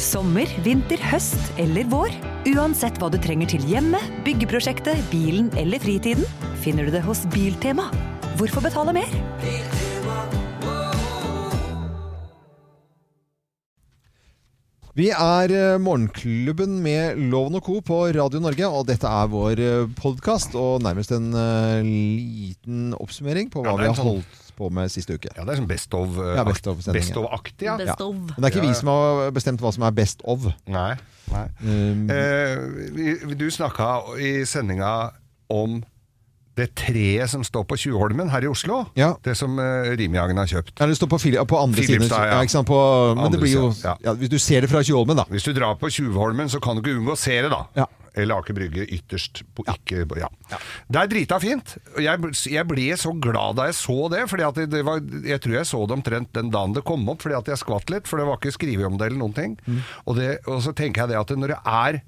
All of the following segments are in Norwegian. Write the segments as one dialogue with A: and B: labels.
A: Sommer, vinter, høst eller vår. Uansett hva du trenger til hjemmet, byggeprosjektet, bilen eller fritiden, finner du det hos Biltema. Hvorfor betale mer?
B: Vi er eh, Morgenklubben med Loven og Co. på Radio Norge, og dette er vår podkast. Og nærmest en eh, liten oppsummering på hva
C: Ja, det
B: vi har
C: er en sånn-
B: holdt på med siste uke.
C: Ja, det er sånn best
B: Ja, best
C: of-aktig.
B: of-sending, ja.
C: ja.
B: Ja.
D: Best of.
B: Men det er ikke
C: Ja,
B: vi som har bestemt hva som er best of.
C: Nei. nei.
B: Um,
C: Eh, vi- du snakka i sendinga om det treet som står på Tjuvholmen her i Oslo.
B: Ja.
C: Det som eh, Rimi-Hagen har kjøpt.
B: Ja, det står på, fil- på andre
C: Filipstad,
B: siden.
C: ja.
B: Ja, ikke sant? På, men
C: Andre
B: det blir jo
C: siden, ja.
B: ja, Hvis du ser det fra Tjuvholmen, da.
C: Hvis du drar på Tjuvholmen, så kan du ikke unngå å se det, da.
B: Ja.
C: Eller Aker Brygge ytterst. På, Ikke, ja. Det er drita fint. Og Jeg, jeg ble så glad da jeg så det. Fordi at det, det var, jeg tror jeg så det omtrent den dagen det kom opp, fordi at jeg skvatt litt. For det var ikke skrevet om det eller noen ting. Og, det, og så tenker jeg det at når det er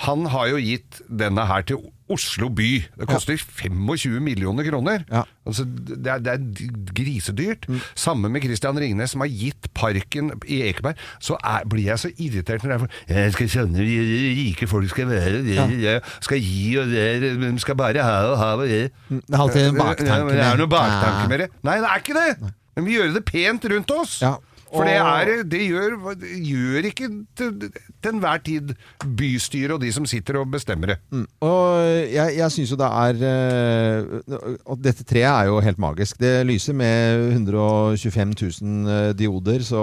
C: Han har jo gitt denne her til Oslo by. Det koster 25 millioner kroner.
B: Ja.
C: Altså, det, er, det er grisedyrt.
B: Mm.
C: Sammen med Christian Ringnes, som har gitt parken i Ekeberg, så er, blir jeg så irritert når jeg får Jeg skal skjønne hvor rike folk skal være, de, skal gi og det, de skal bare ha og ha og det.
B: Det er alltid Mm. en baktanke
C: eh, Det
B: med-
C: er noen
B: Ja.
C: baktanke med det. Nei, det er ikke det! Men vi gjør det pent rundt oss.
B: Ja.
C: For det,
B: Og-
C: er, det gjør, gjør ikke til til enhver tid bystyret og de som sitter og bestemmer det.
B: Mm. Og eh, jeg, jeg syns jo det er eh, Og dette treet er jo helt magisk. Det lyser med 125 000 eh, dioder, så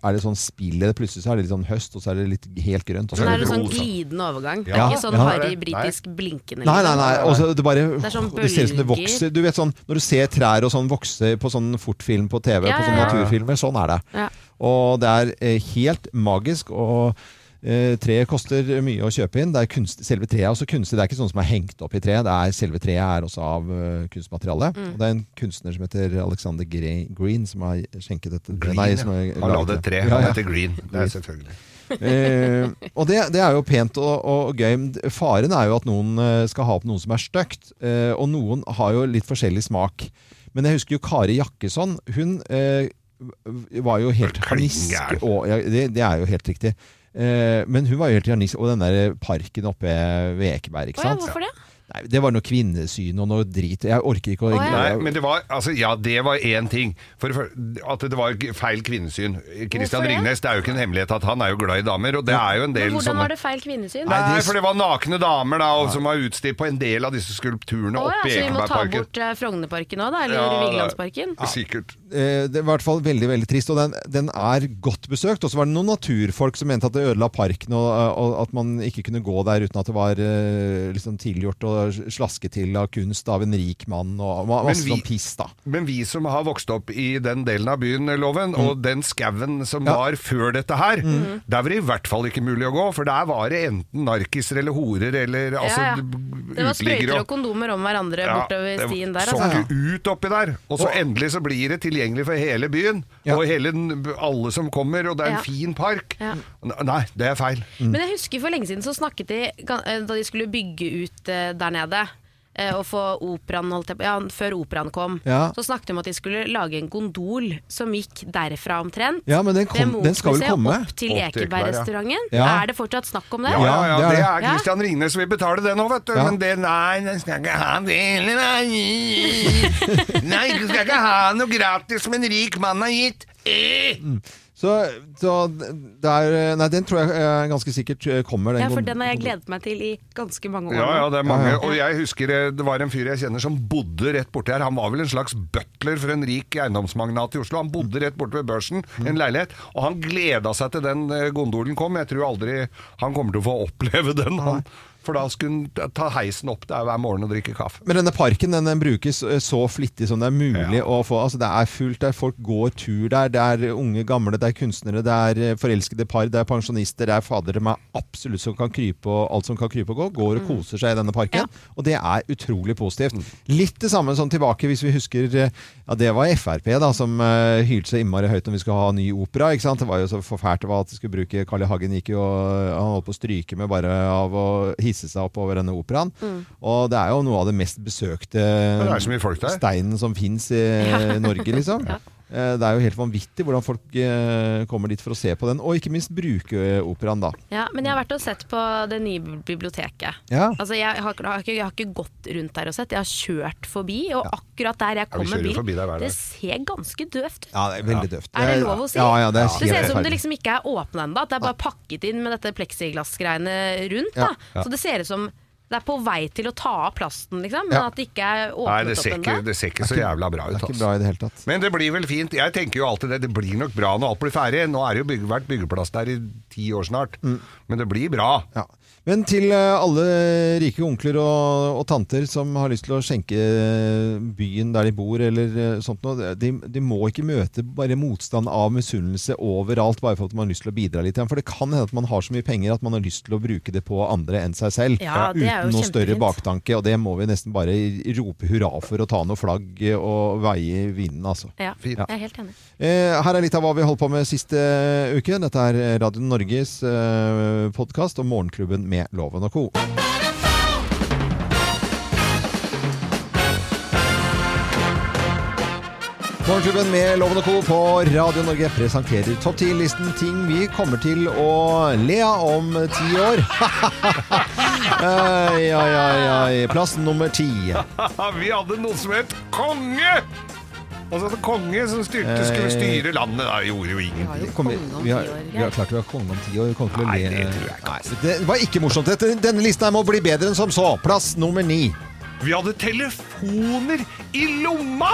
B: er det sånn spillet Plutselig så er det litt sånn høst, og så er det litt helt grønt. Og
C: Så
B: så
D: Men det
B: er
D: er
B: det
D: jo sånn
C: rosa.
D: glidende overgang. Det
C: Ja.
D: er ikke sånn
B: Ja.
D: harry britisk blinkende.
B: Nei, nei,
D: liksom.
B: nei. Og så det bare det,
D: er sånn
B: ser ut som det
D: bølger.
B: vokser. Du vet sånn når du ser trær og sånn vokse på sånn fortfilm på TV,
D: Ja,
B: på sånne
D: ja,
C: ja.
B: naturfilmer, sånn er det.
D: Ja.
B: Og det er eh, helt magisk. og eh, treet koster mye å kjøpe inn. Det er kunst, selve treet er også kunstig. Det er ikke sånn som er hengt opp i treet. Det er, selve treet er også av eh, kunstmateriale.
D: Mm.
B: Og det er en kunstner som heter Alexander Gre- Green som har skjenket dette.
C: Green,
B: nei,
C: ja.
B: som har
C: Han
B: laget
C: lagde et tre.
B: Ja,
C: Han
B: ja.
C: heter Green. Det er selvfølgelig.
B: Eh, og det, det er jo pent og, og, og gøy. Men Faren er jo at noen eh, skal ha opp noen som er stygt, eh, og noen har jo litt forskjellig smak. Men jeg husker jo Kari Jakkesson. Hun eh, v- var jo helt
C: Klingeren.
B: harnisk. Og, ja, det, det er jo helt riktig. Eh, men hun var jo helt harnisk. Og den der parken oppe ved Ekeberg,
D: Å
B: ikke
D: ja,
B: sant?
D: hvorfor det?
B: Nei, det var noe kvinnesyn og noe drit. Jeg orker ikke å
D: Å, ja.
C: Nei, men det var, altså, ja, det var én ting. For, det fyr- at det var g- feil kvinnesyn. Christian
D: Hvorfor det?
C: Ringnes, det er jo ikke en hemmelighet at han er jo glad i damer, og det er jo en del
D: Men hvordan
C: sånne
D: var det feil kvinnesyn?
C: Nei,
B: det-
C: for det var nakne damer da, og, som var utstilt på en del av disse skulpturene
D: Å, ja,
C: oppe i
D: så vi må ta
C: Ekebergparken.
D: bort eh, Frognerparken òg, da? Eller
C: Ja, det-
D: Vigelandsparken?
C: Ja, Sikkert.
B: Eh, Det var i hvert fall veldig veldig trist, og den, den er godt besøkt. Og så var det noen naturfolk som mente at det ødela parken, og, og at man ikke kunne gå der uten at det var eh, liksom tilgjort og slaske til av kunst av en rik mann. Og ma- masse
C: vi-
B: sånn piss, da.
C: Men vi som har vokst opp i den delen av byen, Loven, og den skauen som
B: Ja.
C: var før dette her, der var det i hvert fall ikke mulig å gå, for der var det enten narkiser eller horer eller altså,
D: ja, ja.
C: b-
D: Det var
C: uteliggere
D: sprøyter og kondomer om hverandre
C: Ja,
D: bortover
C: det
D: stien der.
C: Så
B: sånn.
D: Altså.
C: ikke ut oppi der. Og så
B: Og-
C: endelig så blir det tilgjengelig for hele byen.
B: Ja.
C: Og hele, den- alle som kommer, og det er en
D: Ja.
C: fin park.
D: Ja.
C: N- Nei, det er feil.
D: Men jeg husker for lenge siden så snakket de gan- eh, da de skulle bygge ut eh, der nede. eh, Og få operan holdt jeg på Ja, før operaen kom,
B: Ja.
D: så snakket de om at de skulle lage en gondol som gikk derfra omtrent.
B: Ja, men den, kom, den skal vel
D: Munchmuseet
B: komme?
D: Opp til
C: Opp til
D: Ekebergrestauranten.
B: Ja.
D: Er det fortsatt snakk om det?
C: Ja, ja, ja,
B: det er
C: det
B: det.
C: er Christian Ringnes som vil betale det nå, vet du.
B: Ja.
C: Men det Nei, den skal ikke ha det heller, nei. Nei, du skal ikke ha noe gratis som en rik mann har gitt. Eh.
B: Så, så det er Nei, den tror jeg eh, ganske sikkert eh, kommer.
D: Ja, for
B: gond-
D: den har jeg gledet meg til i ganske mange år.
C: Ja, ja,
D: nå.
C: det er mange.
B: Ja, ja.
C: Og jeg husker eh, det- det var en fyr jeg kjenner som bodde rett borti her. Han var vel en slags butler for en rik eiendomsmagnat i Oslo. Han bodde rett borte ved børsen, en leilighet. Og han gleda seg til den eh, gondolen kom. Jeg tror aldri han kommer til å få oppleve den. Han. For da skulle han ta- ta heisen opp der hver morgen og drikke kaffe.
B: Men denne parken den, den brukes eh, så flittig som det er mulig
C: Ja.
B: å få. Altså, det er fullt der, folk går tur der. Det er unge, gamle, det er kunstnere, det er eh, forelskede par, det er pensjonister, det er fadere med absolutt som kan krype og alt som kan krype og gå. Går og koser seg i denne parken. Og det er utrolig positivt.
C: Mm.
B: Litt det samme som tilbake, hvis vi husker eh, Ja, det var Frp da, som eh, hylte så innmari høyt om vi skulle ha ny opera. ikke sant? Det var jo så forfælt det var at de skulle bruke Carl I. Hagen gikk jo, eh, han holdt på å stryke med bare av å hisse seg opp over denne operaen. Og det er jo noe av det mest besøkte
C: Det er så mye folk der.
B: steinen som fins i eh, Norge, liksom. Eh, Det er jo helt vanvittig hvordan folk eh, kommer dit for å se på den, og ikke minst bruke eh, operaen, da.
D: Ja, men jeg har vært og sett på det nye biblioteket.
B: Ja.
D: Altså, jeg, har, har ikke, jeg har ikke gått rundt der og sett, jeg har kjørt forbi. Og akkurat der jeg
C: vi
D: kom med
C: kjører jo forbi der
D: bilen,
C: hver dag.
D: det ser ganske døvt ut.
B: Ja, det er veldig døvt.
D: Er det lov å si?
B: Ja, ja, det, er helt
D: ser ut som det
B: forferdelig.
D: liksom ikke er åpna ennå. At det er bare pakket inn med dette pleksiglassgreiene rundt.
B: Ja.
D: Da. Så det ser ut som det er på vei til å ta av plasten, liksom. Men
B: Ja.
D: at det ikke er
C: Nei, det
D: åpnet
C: ser,
D: opp
C: ikke,
D: ennå.
C: det ser ikke så jævla bra ut.
B: Det er ikke
C: altså.
B: bra i det hele tatt.
C: Men det blir vel fint. Jeg tenker jo alltid det. Det blir nok bra når alt blir ferdig. Nå er det jo bygge, vært byggeplass der i ti år snart. Men det blir bra.
B: Ja. Men til eh, alle rike onkler og, og tanter som har lyst til å skjenke eh, byen der de bor, eller eh, sånt noe, de, de må ikke møte bare motstand av misunnelse overalt bare for at man har lyst til å bidra litt. For det kan hende at man har så mye penger at man har lyst til å bruke det på andre enn seg selv.
D: Ja, det er jo
B: uten noe større
D: kjempefint.
B: baktanke. Og det må vi nesten bare rope hurra for og ta noe flagg og veie i vinden, altså.
D: Ja,
C: Fint.
D: jeg er helt enig.
B: Eh, Her er litt av hva vi holdt på med siste eh, uke. Dette er Radio Norges eh, podkast om Morgenklubben med Loven og co. Morgenklubben med Loven og co. på Radio Norge presenterer topp 10-listen ting vi kommer til å le av om ti år. Ai, ai, ai, ai. Plass nummer ti.
C: Vi hadde noe som het konge! Altså en konge som styrte,
B: Eh.
C: skulle styre landet. Det gjorde jo ingen
D: har jo
B: Kommer-
D: konge om
B: vi, har,
D: ti år,
B: vi har klart vi har konge om ti år. vi kommer til å
C: Nei,
B: le-
C: det tror jeg ikke. altså.
B: Nei, det var ikke morsomt. Dette, denne lista her må bli bedre enn som så. Plass nummer ni.
C: Vi hadde telefoner i lomma!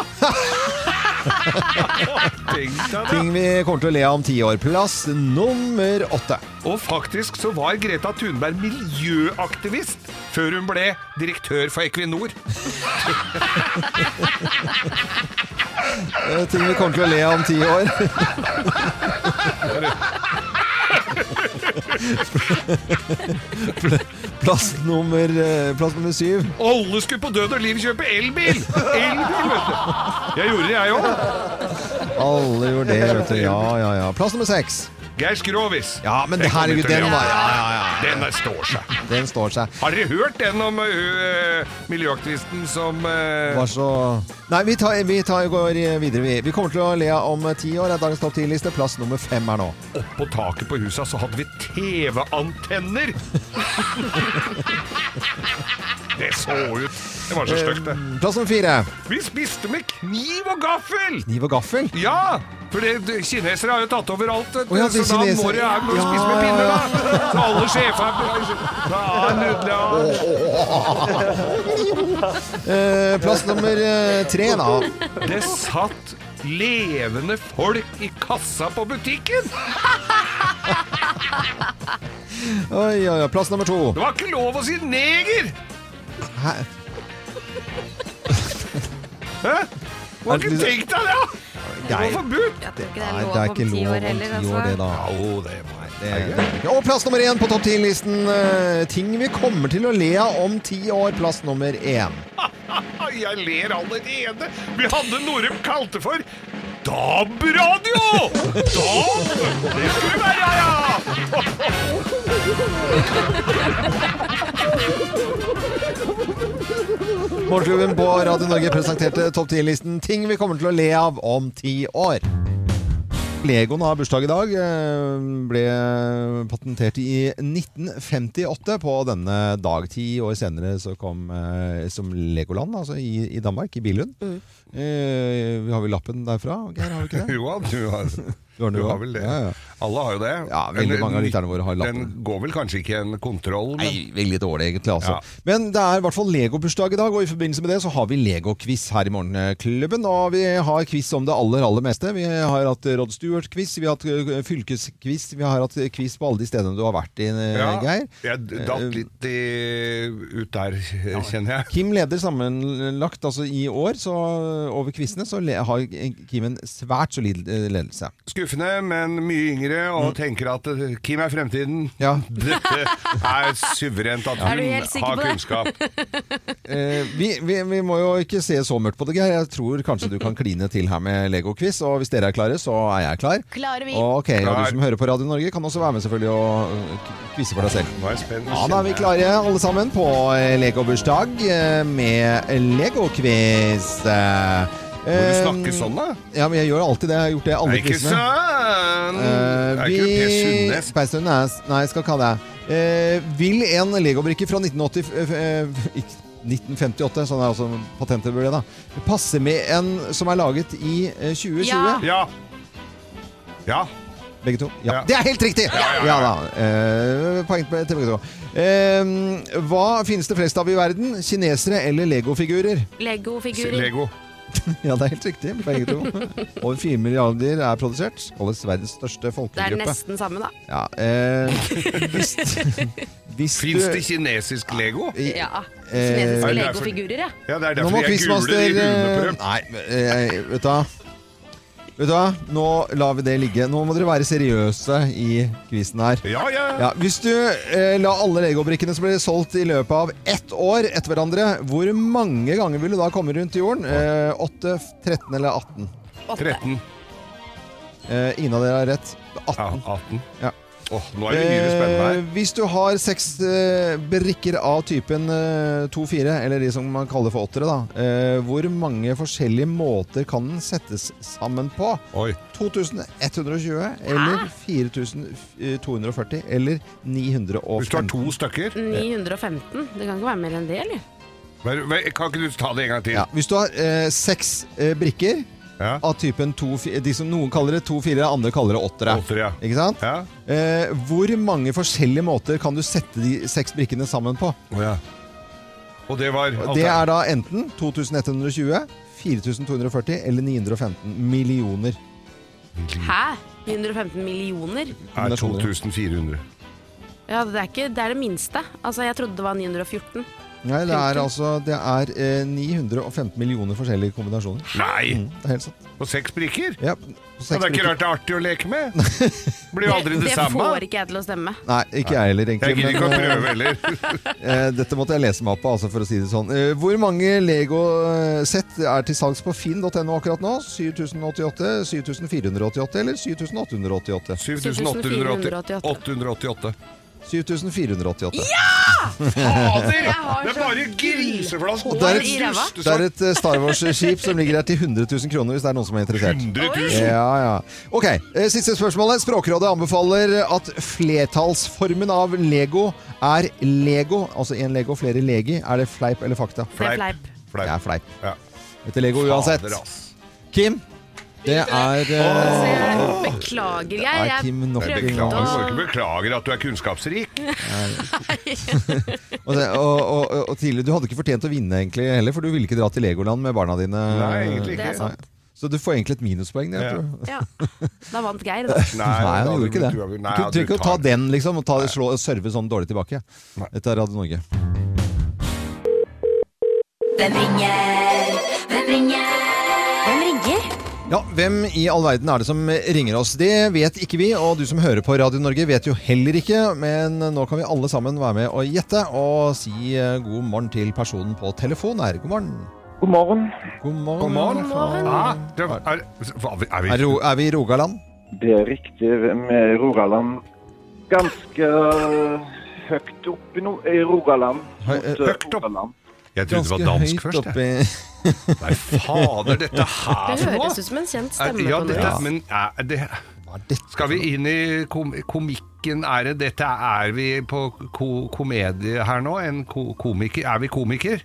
C: Tenk deg det.
B: Ting vi kommer til å le av om ti år. Plass nummer åtte.
C: Og faktisk så var Greta Thunberg miljøaktivist før hun ble direktør for Equinor.
B: Eh, Ting vi kommer til å le av om ti år. Plass nummer, eh, plass nummer syv.
C: Alle skulle på død og liv kjøpe elbil! Elbil, vet du. Jeg gjorde det, jeg òg.
B: Alle gjorde det, vet du. Ja, ja, ja. Plass nummer seks.
C: Geir Skrovis.
B: Ja, men det herregud,
C: kommer
B: den
C: til å le.
B: var ja, ja, ja.
C: Den der står seg.
B: Den står seg.
C: Har dere hørt den om øh, miljøaktivisten som øh,
B: var så Nei, vi, tar, vi tar, går videre. Vi, vi kommer til å le om ti år. Det er dagens topp ti-liste. Plass nummer fem er nå.
C: Oppå taket på husa så hadde vi TV-antenner! det så ut. Det var så stygt, det.
B: Plass nummer fire.
C: Vi spiste med kniv og gaffel!
B: Kniv og gaffel.
C: Ja! For det, det- kinesere har jo tatt over alt, vet du,
B: Å ja, det er
C: så da må
B: kinesere.
C: du ja,
B: Ja,
C: spise med
B: ja,
C: pinner,
B: ja.
C: da! Så alle sjefer Ja, nydelig. ja.
B: Eh, plass nummer eh, tre, da.
C: Det satt levende folk i kassa på butikken!
B: Oi, oi, oi. Plass nummer to.
C: Det var ikke lov å si neger!
B: Hæ?
C: Hæ? Du har
B: Er det
C: ikke
B: liksom-
C: tenkt deg det? da? Det var
B: Geir.
C: forbudt!
D: Jeg tror ikke det er
B: Nei,
D: lov
B: det er
D: om
B: ikke
D: ti
B: lov
D: år
B: om
D: heller.
B: ti år,
D: altså.
B: det, da.
C: Jo, det var
B: Det er det ikke. Og plass nummer én på topp ti-listen. Eh, ting vi kommer til å le av om ti år. Plass nummer én.
C: Jeg ler allerede. Vi hadde noe de kalte for DAB-radio! DAB! Det skulle være, ja!
B: Morgenklubben på Radio Norge presenterte topp 10-listen ting vi kommer til å le av om ti år. Legoen har bursdag i dag. eh, Ble patentert i 1958 på denne dag. Ti år senere så kom eh, som Legoland, altså i, i Danmark, i Billund. Eh, vi har vel lappen derfra, Geir? Har vi ikke det?
C: Jo, du har,
B: Du har den,
C: du
B: du
C: har
B: også?
C: vel det.
B: Ja, ja.
C: Alle har jo det.
B: Ja, veldig
C: Men,
B: mange av lytterne våre har lappen.
C: Den går vel kanskje ikke en kontroll, men
B: Nei, veldig dårlig egentlig, altså.
C: Ja.
B: Men det er i hvert fall Lego-bursdag i dag, og i forbindelse med det så har vi Lego-quiz her i Morgenklubben. Og vi har quiz om det aller, aller meste. Vi har hatt Rod Stewart-quiz, vi har hatt eh, fylkesquiz, vi har hatt quiz på alle de stedene du har vært i, eh,
C: ja,
B: Geir. Eh,
C: jeg datt litt i, ut der, kjenner jeg.
B: Kim leder sammenlagt, altså i år, så over quizene, så le- har Kim en svært solid eh, ledelse.
C: Skuffende, men mye yngre, og tenker at eh, Kim er fremtiden.
B: Mm. Ja.
C: Dette er suverent at
D: Er du
C: hun
D: helt sikker
C: har
D: på det?
C: kunnskap.
B: Eh, vi, vi, vi må jo ikke se så mørkt på det, Geir. Jeg tror kanskje du kan kline til her med Lego-quiz. Og hvis dere er klare, så er jeg klar.
D: Klare vi.
B: Ok, Og
C: Klar.
B: du som hører på Radio Norge, kan også være med selvfølgelig og øh, quize for deg selv.
C: Nå er jeg spent.
B: Ja, Da er vi klare alle sammen på eh, Lego-bursdag eh, med Lego-quiz. Eh,
C: Må du
B: Eh,
C: snakke sånn, da?
B: Ja, men jeg gjør alltid det. Jeg har gjort det i alle
C: Nei, ikke
B: prisene.
C: sånn!
B: Eh,
C: er
B: vi
C: ikke Per Sundnes?
B: Per Sundnes. Nei, jeg skal kalle deg. Eh, vil en legobrikke fra 1980 f- eh, ikke- 1958, sånn er også patentet burde det, da. Passe med en som er laget i eh, 2020?
D: Ja.
C: Ja. Ja.
B: Begge to? Ja.
C: Ja.
B: Det er helt riktig! Ja,
C: ja, ja.
B: da. Eh, poeng til begge to. Eh, hva finnes det flest av i verden? Kinesere eller legofigurer?
D: Lego-figurer.
C: Lego.
B: Ja, det er helt riktig. Begge to. Over fire milliarder er produsert. Kalles verdens største
D: Det er
B: folkegruppe.
D: nesten samme, da.
B: Ja, eh, hvis, hvis du
C: Fins det kinesisk Lego?
D: Ja.
B: Eh,
D: Kinesiske
C: er det derfor-
D: legofigurer, ja.
C: Ja, det er
B: Nå må
C: derfor de er gule
B: quizmaster
C: i
B: eh,
C: huene på dem.
B: Nei, eh, vet du hva? Vet du hva? Nå lar vi det ligge. Nå må dere være seriøse i quizen her.
C: Ja, ja.
B: Ja, hvis du eh, la alle legobrikkene som ble solgt i løpet av ett år etter hverandre, hvor mange ganger vil du da komme rundt jorden? Eh, 8, 13 eller 18?
D: Åtte.
C: 13.
B: Eh, ingen av dere har rett. 18.
C: Ja, 18.
B: Ja.
C: Åh, nå er det mye spennende her.
B: Eh, hvis du har seks eh, brikker av typen eh, 2-4, eller de som man kaller for åttere, da, eh, hvor mange forskjellige måter kan den settes sammen på?
C: Oi.
B: 2120, eller eh, 4240, eller 915?
C: Hvis du har to stykker,
D: 915. Det kan ikke være mer enn det, eller?
C: Vær- vær- kan ikke du ta det en gang til?
B: Ja, hvis du har eh, seks eh, brikker
C: Ja.
B: av typen 2-4, de som noen kaller det 2-4, andre kaller det åttere.
C: Åttere, ja.
B: Ikke sant?
C: Ja.
B: Eh, hvor mange forskjellige måter kan du sette de seks brikkene sammen på?
C: Å, ja. Og det var
B: Det er da enten 2120, 4240 eller 915 millioner.
D: Hæ? 915 millioner?
C: er 2400.
D: Ja, det er ikke Det er det minste. Altså, jeg trodde det var 914.
B: Nei, det er altså det er, eh, 915 millioner forskjellige kombinasjoner.
C: Nei!
B: Det er helt sant.
C: Og seks brikker?
B: Ja, på
C: Ja,
B: Mm. seks
C: det er ikke
B: brikker.
C: rart det er artig å leke med. Blir jo aldri det,
D: det
C: samme.
D: får ikke jeg til å stemme.
B: Nei, ikke jeg heller,
C: Jeg
B: egentlig.
C: gidder ikke å
B: men, eh,
C: prøve heller.
B: Eh, dette måtte jeg lese meg opp på, altså, for å si det sånn. Eh, hvor mange Lego-sett er til salgs på finn.no akkurat nå? 7088, 7488 eller 7888?
C: 7888.
D: 7888.
C: 888.
B: 7488.
C: Fader!
D: Jeg har
C: Det er
D: så-
C: bare griseflasker!
B: Og der-
D: i ræva.
B: Det er et eh, Star Wars-skip som ligger her til 100 000 kroner, hvis det er noen som er interessert.
C: 100 000!
B: Ja, ja. Ok, eh, siste spørsmålet. Språkrådet anbefaler at flertallsformen av Lego er Lego. Altså én Lego, flere legi. Er det fleip eller fakta?
D: Det er fleip.
B: Det
C: Fleip.
B: er fleip.
C: Ja.
B: Dette er Lego uansett.
C: Fader, ass.
B: Kim, det er eh,
D: Så jeg beklager, jeg.
B: Nei,
D: jeg
B: Kim, nok
C: Jeg
B: en gang.
C: beklager, du får ikke beklage at du er kunnskapsrik.
B: Og, det- og, og, og, og tidligere, Du hadde ikke fortjent å vinne egentlig heller, for du ville ikke dra til Legoland med barna dine.
C: Nei, egentlig
D: det er
C: ikke.
D: sant.
B: Så du får egentlig et minuspoeng. Det,
C: Ja.
B: tror jeg.
D: Ja. Da vant Geir, da.
C: Nei,
B: Nei,
C: da
B: han
C: hadde
B: gjorde ikke det.
C: du-
B: Du
C: Nei,
B: trenger ikke å ta
C: tar-
B: den liksom, og ta, slå, og serve sånn dårlig tilbake.
C: Nei.
B: Dette er Radio Norge.
E: Hvem ringer? Hvem ringer? Hvem ringer?
B: Ja, Hvem i all verden er det som ringer oss? Det vet ikke vi, og du som hører på Radio Norge vet jo heller ikke. Men nå kan vi alle sammen være med og gjette, og si eh, god morgen til personen på telefon her. God morgen.
F: God morgen.
B: God morgen.
C: God morgen.
B: Ja.
C: Ja, Ah, det var- er, hva- er vi
B: Er, ro- er vi i Rogaland?
F: Det er riktig med Rogaland. Ganske eh, høyt opp i, no i Rogaland.
B: Høy-
F: Mot,
B: høyt
F: eh,
C: opp.
F: Rogaland.
C: Jeg trodde det var dansk først. jeg.
B: oppi
C: Nei, fader, dette her
D: Det
C: for noe?
D: høres ut som en kjent
C: Er-
D: stemme
C: Ja,
D: på noe.
C: dette, men er det
B: Hva er dette?
C: Skal vi inn i kom komikken? Er det dette Er vi på ko komedie her nå? En ko komiker? Er vi komiker?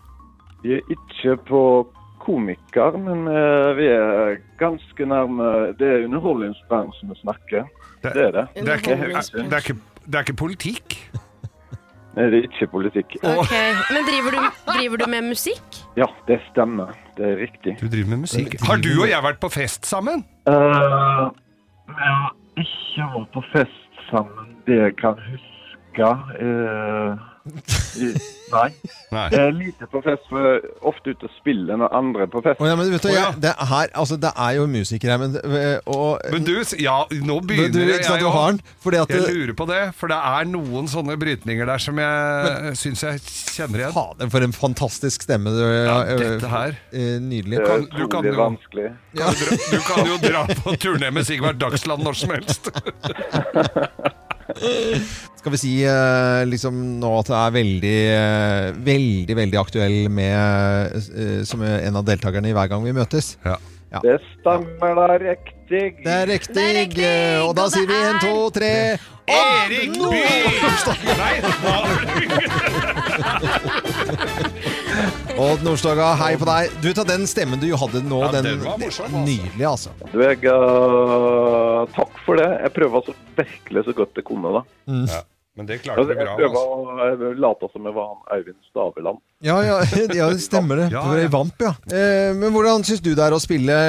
F: Vi er ikke på komiker, men eh, vi er ganske nærme Det er underholdningsbransjen vi snakker.
C: Det-
F: Det er det.
C: Det er ikke,
D: Underholdningsbransjen.
C: det er ikke, det er ikke politikk?
F: Nei, det er ikke politikk.
D: Ok, Men driver du, driver du med musikk?
F: Ja, det stemmer. Det er riktig.
C: Du driver med musikk. Har du og jeg vært på fest sammen?
F: Eh, Vi har ikke vært på fest sammen, det jeg kan huske. eh, i- nei.
C: Nei.
F: Jeg er lite på fest, for jeg er ofte ute og spiller når andre er på fest.
B: Å ja, men vet du,
C: Å ja.
B: jeg, det, er her, altså, det er jo musikere her, men eh, og,
C: Men du, ja, nå
B: men
C: begynner
B: du,
C: jeg
B: ikke sant, du har den, fordi at
C: Jeg lurer på det, for det er noen sånne brytninger der som jeg syns jeg kjenner igjen.
B: Fader, for en fantastisk stemme. Du,
C: Ja, dette her.
B: Eh, Nydelig.
F: Det
C: kan-
F: er
C: du kan
F: utrolig
C: jo-
F: vanskelig.
C: Du dra- Du kan jo dra på turné med Sigvart Dagsland når som helst.
B: skal vi si eh, liksom nå at det er veldig, eh, veldig, veldig aktuell med, eh, som en av deltakerne i Hver gang vi møtes.
C: Ja.
F: Det stemmer da riktig.
B: Det er riktig!
D: Det er riktig,
B: eh, Og da
D: og det
B: sier vi
D: er-
B: én, to, tre
C: Erik Bye! Nei, hva var det?
B: Odd Nordstoga, hei på deg. Du, ta den stemmen du hadde nå.
C: Ja,
B: den,
C: den var morsom, altså.
B: Nydelig, altså.
F: Du, jeg, eh, takk for det. Jeg prøver altså virkelig så godt jeg kunne. da.
C: Ja, men det klarte
F: Altså,
C: du bra.
F: jeg prøver
C: Altså.
F: å jeg late som jeg var han Øyvind Staveland.
B: Ja, ja, ja det stemmer det.
C: Ja,
B: Du var i
C: ja.
B: Vamp, ja. Eh, men hvordan syns du det er å spille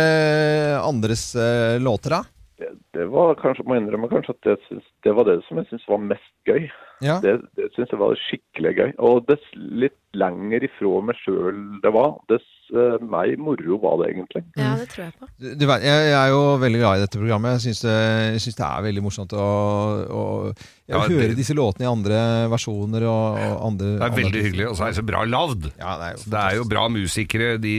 B: andres eh, låter, da?
F: Det, det var kanskje, må innrømme kanskje at det, syns, det var det som jeg syns var mest gøy.
B: Ja.
F: Det, det syns jeg var skikkelig gøy. Og dess litt lenger ifra meg sjøl det var, dess eh, mer moro var det egentlig.
D: Ja, det tror jeg på.
B: Du, du vet, jeg, jeg er jo veldig glad i dette programmet. Jeg syns det, jeg syns det er veldig morsomt å, å, å
C: Ja,
B: høre
C: det-
B: disse låtene i andre versjoner og, og andre
C: Det er
B: andre-
C: veldig hyggelig, og så er det så bra lagd.
B: Ja, det er jo
C: Så det er jo bra musikere de,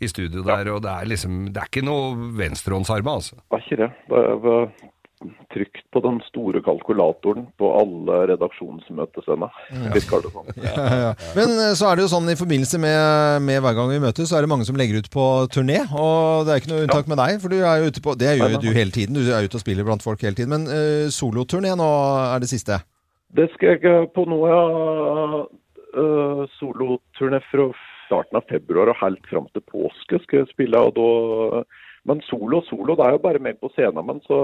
C: i studio der, og det er liksom Det er ikke noe venstrehåndsarbeid, altså.
F: Var ikke det. Det var trygt på den store kalkulatoren på alle redaksjonsmøtescener. Virker det sånn. som.
B: Ja, ja. Men eh, så er det jo sånn i forbindelse med, med Hver gang vi møtes, så er det mange som legger ut på turné. Og det er ikke noe unntak med deg, for du er jo ute på Det gjør jo du hele tiden. Du er ute og spiller blant folk hele tiden. Men eh, soloturné nå er det siste.
F: Det skal jeg eh, på nå, ja. eh, soloturné fra starten av februar og helt fram til påske skal jeg spille. Og da, men solo og solo, det er jo bare meg på scenen. Men så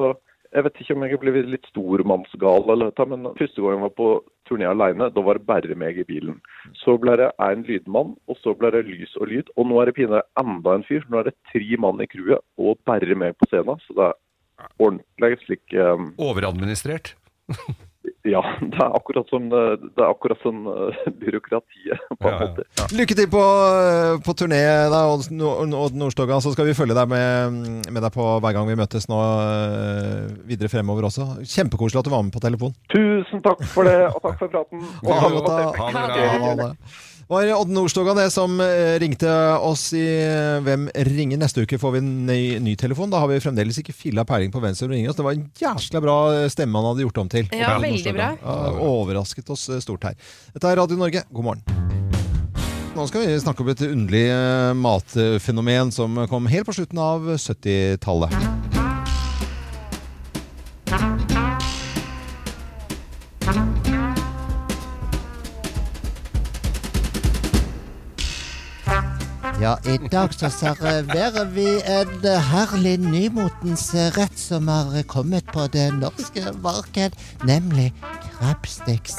F: jeg vet ikke om jeg er blitt litt stormannsgal, eller dette, men første gang jeg var på turné alene, da var det bare meg i bilen. Så ble det én lydmann, og så ble det lys og lyd. Og nå er det pinadø enda en fyr. Nå er det tre mann i crewet og bare meg på scenen. Så det er ordentlig slik eh,
C: Overadministrert.
F: ja, det er akkurat som, eh, det er akkurat som eh, byråkratiet, på
C: Ja,
F: en
C: ja.
F: måte.
B: Lykke til på, eh, på turné, da, Odd Nor- Odd Nordstoga. Så skal vi følge deg med, med deg på Hver gang vi møtes nå eh, videre fremover også. Kjempekoselig at du var med på telefon.
F: Tusen takk for det, og takk for praten.
B: Og ha godt av-
C: Ha det
B: Ja,
C: bra.
B: det var det. var Odd Nordstoga det som eh, ringte oss i eh, Hvem ringer? Neste uke får vi en ny, ny telefon. Da har vi fremdeles ikke filla peiling på hvem som ringer oss. Det var en jæskla bra eh, stemme han hadde gjort om til.
D: Ja,
B: Odd
D: veldig bra.
B: Nordstoga. Ja, overrasket oss eh, stort her. Dette er Radio Norge, god morgen. Nå skal vi snakke om et underlig eh, matfenomen som kom helt på slutten av 70-tallet.
G: Ja, i dag så serverer vi en herlig nymotens rett som har kommet på det norske marked, nemlig krabbsticks.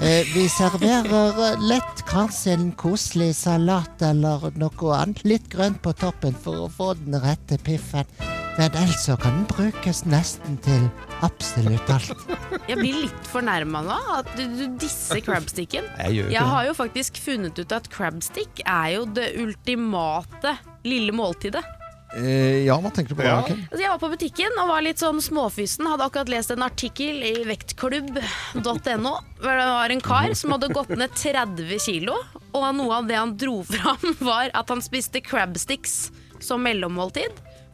G: Eh, Vi serverer lett kanskje en koselig salat eller noe annet. Litt grønt på toppen for å få den rette piffen. Men ellers så kan den brukes nesten til absolutt alt.
D: Jeg blir litt fornærma nå. At du, du disser crabsticken.
B: Jeg gjør jo ikke det.
D: Jeg har jo faktisk funnet ut at crabstick er jo det ultimate lille måltidet.
B: Eh, Ja, hva tenker du på da?
C: Ja.
B: Rakel?
D: Altså, jeg var på butikken og var litt sånn småfysen. Hadde akkurat lest en artikkel i vektklubb.no. hvor Det var en kar som hadde gått ned 30 kilo, og noe av det han dro fram, var at han spiste crabsticks som mellommåltid.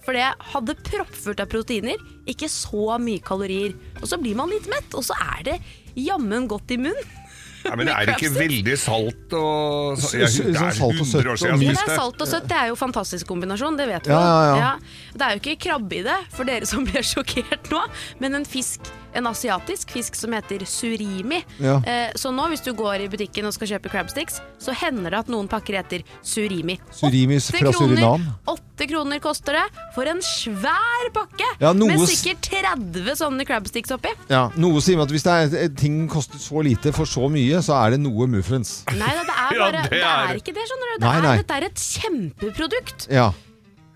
D: For det hadde proppfullt av proteiner, ikke så mye kalorier. Og så blir man litt mett, og så er det jammen godt i munnen.
C: Nei, men det er ikke veldig salt og så-
B: Så-
C: jeg,
B: så-
C: Det er
B: så salt og
C: 100 år
B: søtt og
C: siden
D: Ja,
C: jeg
D: det er
C: spiste.
D: salt og søtt. Det er jo en fantastisk kombinasjon, det vet vi
B: Ja, ja,
D: jo.
B: ja.
D: Det er jo ikke krabbe i det, for dere som ble sjokkert nå, men en fisk, en asiatisk fisk som heter surimi.
B: Ja.
D: Eh, så nå hvis du går i butikken og skal kjøpe crabsticks, så hender det at noen pakker heter surimi.
B: Surimis
D: Åtte
B: fra
D: kroner-
B: Surinam.
D: Åtte kroner koster det for en svær pakke
B: Ja, noe
D: med
B: s-
D: sikkert 30 sånne crabsticks oppi.
B: Ja, noe sier meg at hvis det er, eh, ting koster så lite for så mye, så er det noe muffins.
D: Nei da, det er,
C: Ja,
D: bare,
C: det
D: det
C: er-
D: er ikke det, skjønner du. Det
B: Nei,
D: er,
B: nei.
D: Dette er et kjempeprodukt.
B: Ja,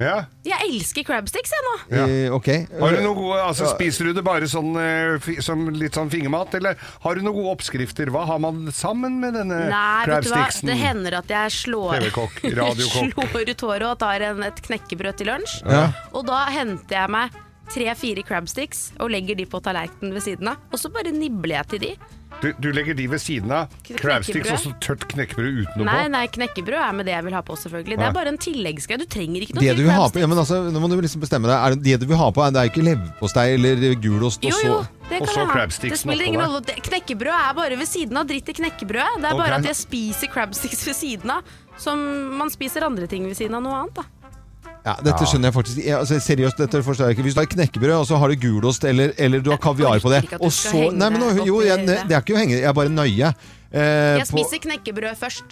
C: Ja.
D: Jeg elsker crabsticks, jeg nå.
C: Ja.
B: Eh, ok.
C: Har du noe gode, altså Spiser du det bare sånn, eh, fi- som litt sånn fingermat, eller har du noen gode oppskrifter? Hva har man sammen med denne
D: Nei, vet du hva?
C: crabsticksen?
D: Det hender at jeg slår,
C: TV-kokk, radiokokk.
D: slår ut håret og tar en, et knekkebrød til lunsj.
B: Ja.
D: Og da henter jeg meg tre-fire crabsticks og legger de på tallerkenen ved siden av. Og så bare nibler jeg til de.
C: Du, du legger de ved siden av.
D: Kn-
C: Crabsticks og
D: knekkebrød.
C: så tørt knekkebrød utenom.
D: Nei, nei, knekkebrød er med det jeg vil ha på, selvfølgelig. Det
C: Nei.
D: er bare en tilleggsgreie. Du trenger ikke noe
B: Det du
D: til
B: vil ha på,
D: crabsticks.
B: ja, men altså, nå må du liksom bestemme deg. Er det, det du vil ha på, er- det er jo ikke leverpostei eller gulost og
D: Jo,
B: så
D: jo, det
C: og
D: kan
C: så
D: jeg ha.
C: crabsticksen
D: Det spiller ingen
C: oppå
D: rolle. Det- Knekkebrød er bare ved siden av. Dritt i knekkebrødet. Det er
C: Ok.
D: bare at jeg spiser crabsticks ved siden av, som man spiser andre ting ved siden av noe annet, da.
B: Ja, dette skjønner jeg faktisk ja, altså, Seriøst, dette forstår jeg ikke. Hvis du har knekkebrød, og så har du gulost eller, eller du har kaviar på det
D: orker ikke at du
B: og
D: skal
B: så,
D: henge
B: nei, men nå,
D: deg opp
B: jo,
D: i
B: jeg, Det
D: det.
B: det er ikke å henge Jeg er bare nøye. Eh,
D: Jeg spiser knekkebrød først.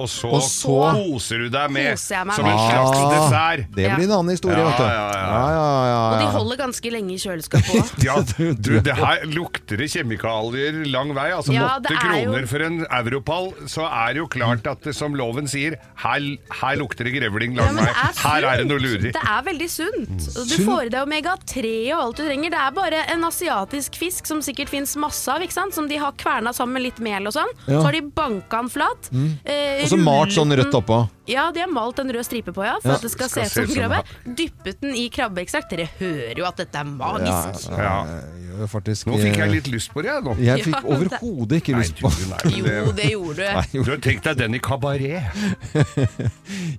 C: Og så,
B: Og så-
C: koser du deg med
D: Koser jeg meg
C: som en
D: med
C: slags
B: Ah.
C: dessert.
B: det
D: Ja.
B: blir en annen historie,
C: Ja,
B: vet du.
C: ja, ja.
B: ja, ja,
D: Og de
B: ja.
D: holder ganske lenge i kjøleskapet òg.
C: Ja, du, det her lukter det kjemikalier lang vei. Altså
D: Ja,
C: åtte
D: det er jo-
C: kroner for en europall, så er det jo klart at det, som loven sier, her, her lukter det grevling
D: Ja,
C: lang
D: men
C: vei.
D: det er sunt.
C: Her er det noe Mm. lureri.
D: Det er veldig sunt. Og Du
B: Sunt.
D: får i deg omega-3 og alt du trenger. Det er bare en asiatisk fisk som sikkert fins masse av, ikke sant? som de har kverna sammen med litt mel og sånn.
B: Ja.
D: Så har de banka den flat. eh,
B: Og så malt
D: rullet
B: sånn rødt
D: den-
B: oppå.
D: Ja, de har malt en rød stripe på, ja, for
B: Ja.
D: at det skal,
C: Skal
D: se ut som
C: se ut som
D: krabbe. Dyppet den i krabbeekstrakt. Dere hører jo at dette er magisk.
C: Ja.
B: Ah, Jeg gjør faktisk
C: Nå fikk jeg litt lyst på det, jeg nå.
B: Eh, Jeg fikk
D: Ja, det-
B: overhodet ikke
C: Nei,
B: lyst
C: du,
B: på
C: nei, det,
D: Jo, det gjorde du.
C: du har tenkt deg den i kabaret.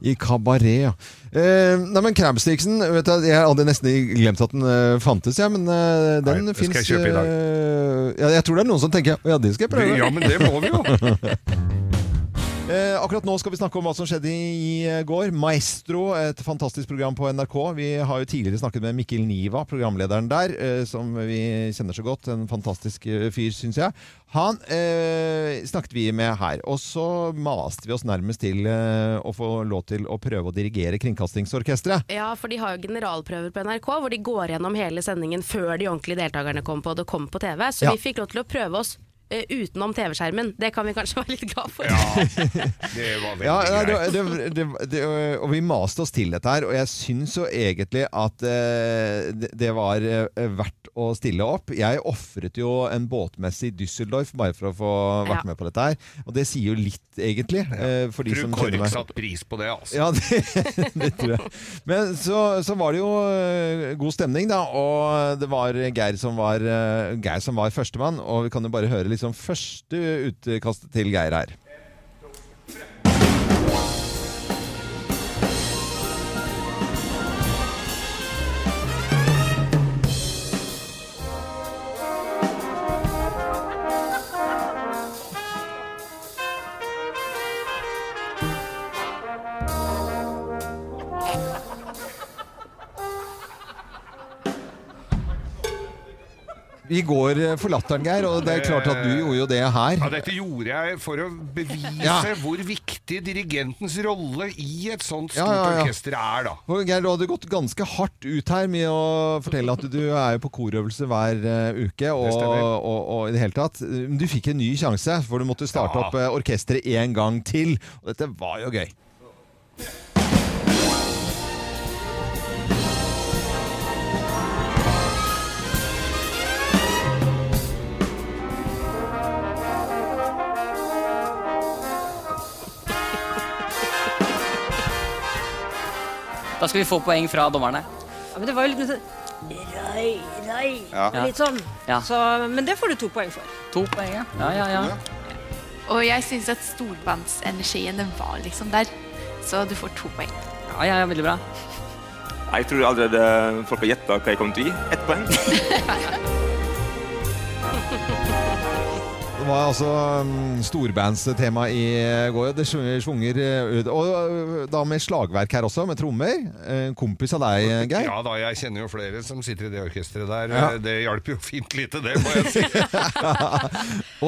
B: I kabaret, ja. Eh, nei, men Krabsticksen vet du, Jeg hadde nesten glemt at den eh, fantes, ja, men eh, den
C: Nei, det skal
B: fins
C: jeg kjøpe i dag.
B: eh, ja, Jeg tror det er noen som tenker Å ja, det skal jeg prøve.
C: Ja, men det må vi jo.
B: Eh, akkurat nå skal vi snakke om hva som skjedde i eh, går. Maestro, et fantastisk program på NRK. Vi har jo tidligere snakket med Mikkel Niva, programlederen der, eh, som vi kjenner så godt. En fantastisk eh, fyr, syns jeg. Han eh, snakket vi med her. Og så maste vi oss nærmest til eh, å få lov til å prøve å dirigere Kringkastingsorkesteret.
D: Ja, for de har jo generalprøver på NRK hvor de går gjennom hele sendingen før de ordentlige deltakerne kom på, og det kom på TV. Så
B: Ja.
D: vi fikk lov til å prøve oss eh, utenom TV-skjermen. Det kan vi kanskje være litt glad for.
C: Det var veldig
B: Ja, ja,
C: greit.
B: det, det, det, det, og vi maste oss til dette her, og jeg syns jo egentlig at eh, det, det var eh, verdt å stille opp. Jeg ofret jo en båtmesse i Düsseldorf bare for å få vært
D: Ja.
B: med på dette her, og det sier jo litt, egentlig. eh, for de
C: Tror
B: som kjenner
C: Kork
B: meg.
C: satte pris på det, altså.
B: Ja, det, det tror jeg. Men så, så var det jo eh, god stemning, da. Og det var Geir som var, eh, Geir som var førstemann. Og vi kan jo bare høre liksom første utkastet til Geir her. Vi går eh, for latteren, Geir, og det er klart at du gjorde jo det her.
C: Eh, Ja, dette gjorde jeg for å bevise
B: Ja.
C: hvor viktig dirigentens rolle i et sånt
B: Ja,
C: stort
B: ja, ja.
C: orkester er, da.
B: For Geir, du hadde gått ganske hardt ut her med å fortelle at du er jo på korøvelse hver eh, uke. Og,
C: stemmer.
B: og, og i det hele tatt. Men Du fikk en ny sjanse, for du måtte starte
C: Ja.
B: opp eh, orkesteret en gang til. Og dette var jo gøy.
H: Da skal vi få poeng fra dommerne.
I: Ja, men det var jo litt Røy, røy.
H: Ja.
I: Litt sånn.
H: Ja.
I: Så, men det får du to poeng for.
H: To poeng, ja. Ja, ja, ja.
J: Og jeg syns at storbandsenergien den var liksom der. Så du får to poeng.
H: ja, ja, ja veldig bra.
K: Jeg tror allerede folk har gjetta hva jeg kommer til å gi. Ett poeng.
B: Det var altså mm, storbandstema i eh, går. Det svunger- svunger eh, ut. Og eh, da med slagverk her også, med trommer. Eh, En kompis av deg, eh, Geir.
C: Ja da, jeg kjenner jo flere som sitter i det orkesteret der. Eh,
B: Ja.
C: Det hjalp jo fint lite, det, må jeg si.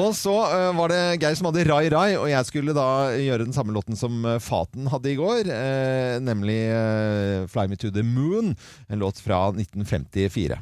B: Og så eh, var det Geir som hadde Rai Rai, og jeg skulle da gjøre den samme låten som eh, Faten hadde i går, eh, nemlig eh, Fly Me To The Moon, en låt fra 1954.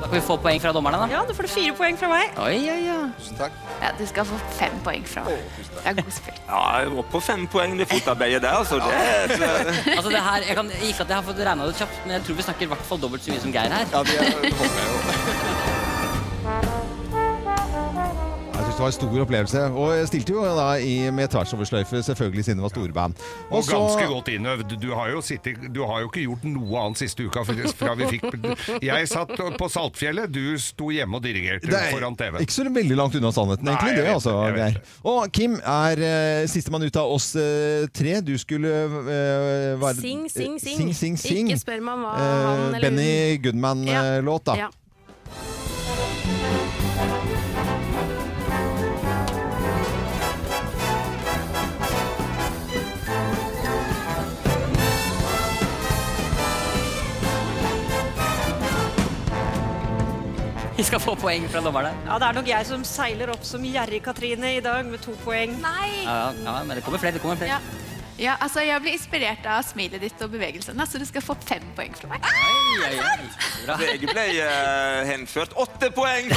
H: Da kan vi
G: få poeng fra dommerne, da?
E: Ja, da får du fire poeng fra meg.
G: Oi, oi, oi.
K: Tusen takk.
J: Ja, du skal få fem poeng fra meg. Det er god spill.
K: Ja, jeg var på fem poeng det fotarbeidet der, altså. Det, er-
G: Altså det her, jeg kan, ikke at jeg har fått regna det kjapt, men jeg tror vi snakker i hvert fall dobbelt så mye som Geir her.
K: Ja, vi er,
B: Jeg synes Det var en stor opplevelse. Og jeg stilte jo da i, med tvers-over-sløyfe, selvfølgelig, siden det var storband.
L: Og ganske godt innøvd. Du har, jo sittet, du har jo ikke gjort noe annet siste uka fra fra vi fikk Jeg satt på Saltfjellet, du sto hjemme og dirigerte
B: Det er
L: foran TV.
B: Ikke så veldig langt unna sannheten, egentlig.
L: jeg
B: det,
L: vet
B: altså,
L: det, jeg vet
B: Geir. Og Kim er uh, sistemann ut av oss eh, tre. Du skulle eh, være
D: Sing, sing, sing.
B: sing, sing, sing.
D: Ikke spør meg hva
B: Eh,
D: han eller
B: Benny Goodman-låt, da.
D: Ja.
G: Vi skal få poeng fra dommerne.
E: Ja, det er nok jeg som seiler opp som Gjerrig-Katrine i dag med to poeng.
J: Nei!
G: Ja, ja, ja, men det kommer flere. det kommer flere.
J: Ja. ja, altså Jeg blir inspirert av smilet ditt og bevegelsene, så du skal få fem poeng fra meg.
K: Bra. Jeg ble eh, henført åtte poeng!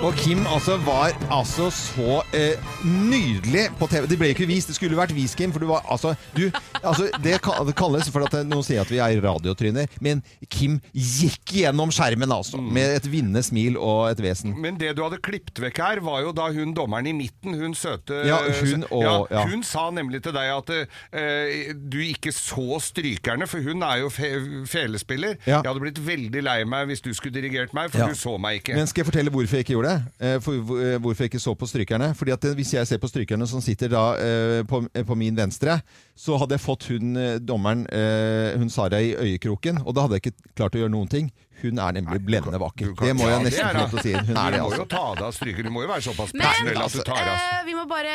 B: Og Kim altså var altså så eh, nydelig på TV. Det ble ikke vist, det skulle vært vist, Kim. For du var altså, du, altså Det ka- det kalles for at det- Noen sier at vi er radiotryner, men Kim gikk gjennom skjermen altså,
L: Mm.
B: med et vinnende smil og et vesen.
L: Men det du hadde klippet vekk her, var jo da hun dommeren i midten, hun søte
B: Ja, hun og- ja.
L: Hun sa nemlig til deg at eh, du ikke så strykerne, for hun er jo fe felespiller.
B: Ja.
L: Jeg hadde blitt veldig lei meg hvis du skulle dirigert meg, for
B: Ja.
L: du så meg ikke.
B: Men skal jeg fortelle hvorfor jeg ikke gjorde det? Eh, For, hvor- eh, hvorfor jeg ikke så på strykerne? Fordi at eh, Hvis jeg ser på strykerne som sitter da eh, på, eh, på min venstre, så hadde jeg fått hun eh, dommeren, eh, hun Sara, i øyekroken. Og da hadde jeg ikke klart å gjøre noen ting. Hun er nemlig blendende vakker. Det må jeg
L: Ja,
B: nesten
L: er
B: få lov til å si. Hun er
L: Du
B: det,
L: må jo
B: altså.
L: ta deg av strykerne. Du må jo være såpass
D: Men
L: personell at du tar deg av
D: eh, vi må bare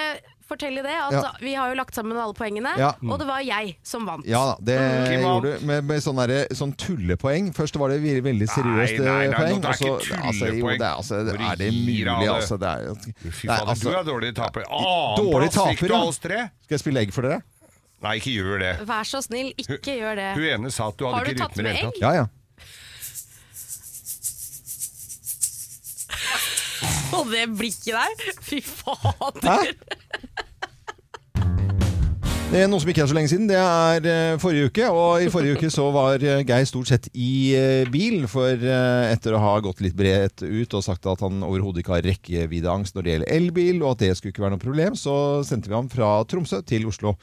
D: fortelle det at
B: Ja.
D: vi har jo lagt sammen alle poengene,
B: Ja.
D: og det var jeg som vant.
B: Ja da, det
L: Kim vant.
B: gjorde du. Med, med sånn derre- sånn tullepoeng. Først var det ve- veldig seriøst
L: Nei, nei, nei,
B: eh, poeng.
L: det er
B: og så-
L: ikke
B: altså, jo,
L: tullepoeng.
B: det er, altså, det,
L: Hvor
B: er det
L: gir av
B: mulig,
L: det?
B: altså? Det er,
L: Fy
B: nei,
L: fader,
B: altså,
L: du er dårlig taper.
B: dårlig
L: Annenplass fikk
B: taper,
L: du
B: ja.
L: av oss tre.
B: Skal jeg spille egg for dere?
L: Nei, ikke gjør det.
D: Vær så snill, ikke gjør det.
L: Hun ene sa at du
D: Har
L: hadde
D: du
L: ikke rytme i
D: tatt
L: det
D: med
L: hele
D: egg?
L: tatt.
B: Ja, ja.
D: Og det blikket der, fy fader!
B: Det er noe som ikke er så lenge siden, det er eh, forrige uke. Og i forrige uke så var eh, Geir stort sett i eh, bil, for eh, etter å ha gått litt bredt ut og sagt at han overhodet ikke har rekkeviddeangst når det gjelder elbil, og at det skulle ikke være noe problem, så sendte vi ham fra Tromsø til Oslo.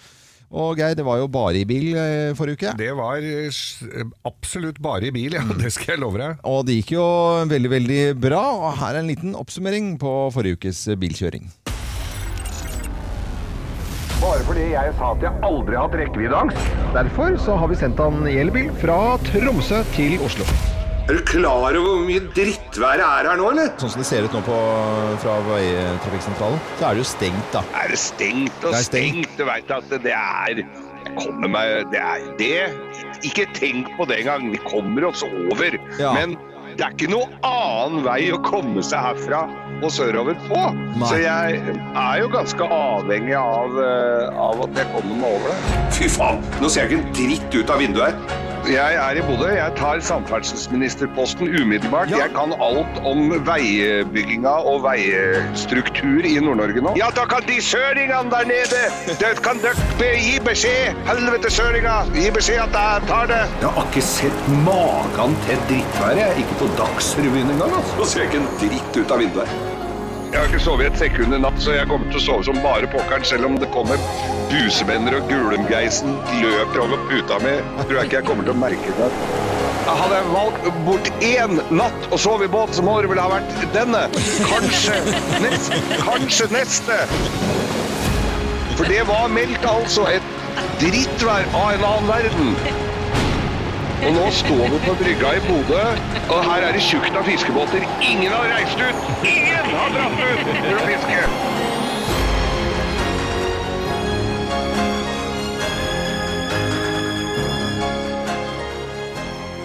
B: Og Geir, det var jo bare i bil eh, forrige uke.
L: Det var eh, s- absolutt bare i bil, ja.
B: Mm.
L: Det skal jeg love deg.
B: Og det gikk jo veldig, veldig bra. Og her er en liten oppsummering på forrige ukes eh, bilkjøring.
L: Bare fordi jeg sa at jeg aldri har hatt rekkeviddeangst.
B: Derfor så har vi sendt han i elbil fra Tromsø til Oslo.
C: Er du klar over hvor mye drittværet er her nå, eller?
B: Sånn som det ser ut nå på, fra veitrafikksentralen, så er det jo stengt, da.
C: Er det stengt og
B: Det er stengt.
C: stengt? Du veit at det er Jeg kommer meg Det er det Ikke tenk på det engang. Vi kommer oss over. Men det er ikke noe annen vei å komme seg herfra og sørover på.
M: Nei.
C: Så jeg er jo ganske avhengig av, eh, av at jeg kommer meg over det. Fy faen, nå ser jeg ikke en dritt ut av vinduet her. Jeg er i Bodø. Jeg tar samferdselsministerposten umiddelbart. Jeg kan alt om veibygginga og veistruktur i Nord-Norge nå. Ja, da kan de søringene der nede Det kan dere gi beskjed! Helvete, søringa! Gi beskjed at jeg tar det! Jeg har ikke sett magen til drittværet. Jeg er ikke på Dagsrevyen engang. Altså. Nå ser jeg ikke en dritt ut av vinduet. Jeg har ikke sovet et sekund i natt, så jeg kommer til å sove som bare pokkeren, selv om det kommer busemenner og Gulemgeisen løper over puta mi. Tror jeg ikke jeg kommer til å merke det. Hadde jeg valgt bort én natt og sove i båt, så må det vel ha vært denne. Kanskje neste. Kanskje neste. For det var meldt altså et drittvær av en annen verden. Og nå står vi på brygga i Bodø, og her er det tjukt av fiskebåter. Ingen har reist ut! Ingen har dratt ut for å fiske!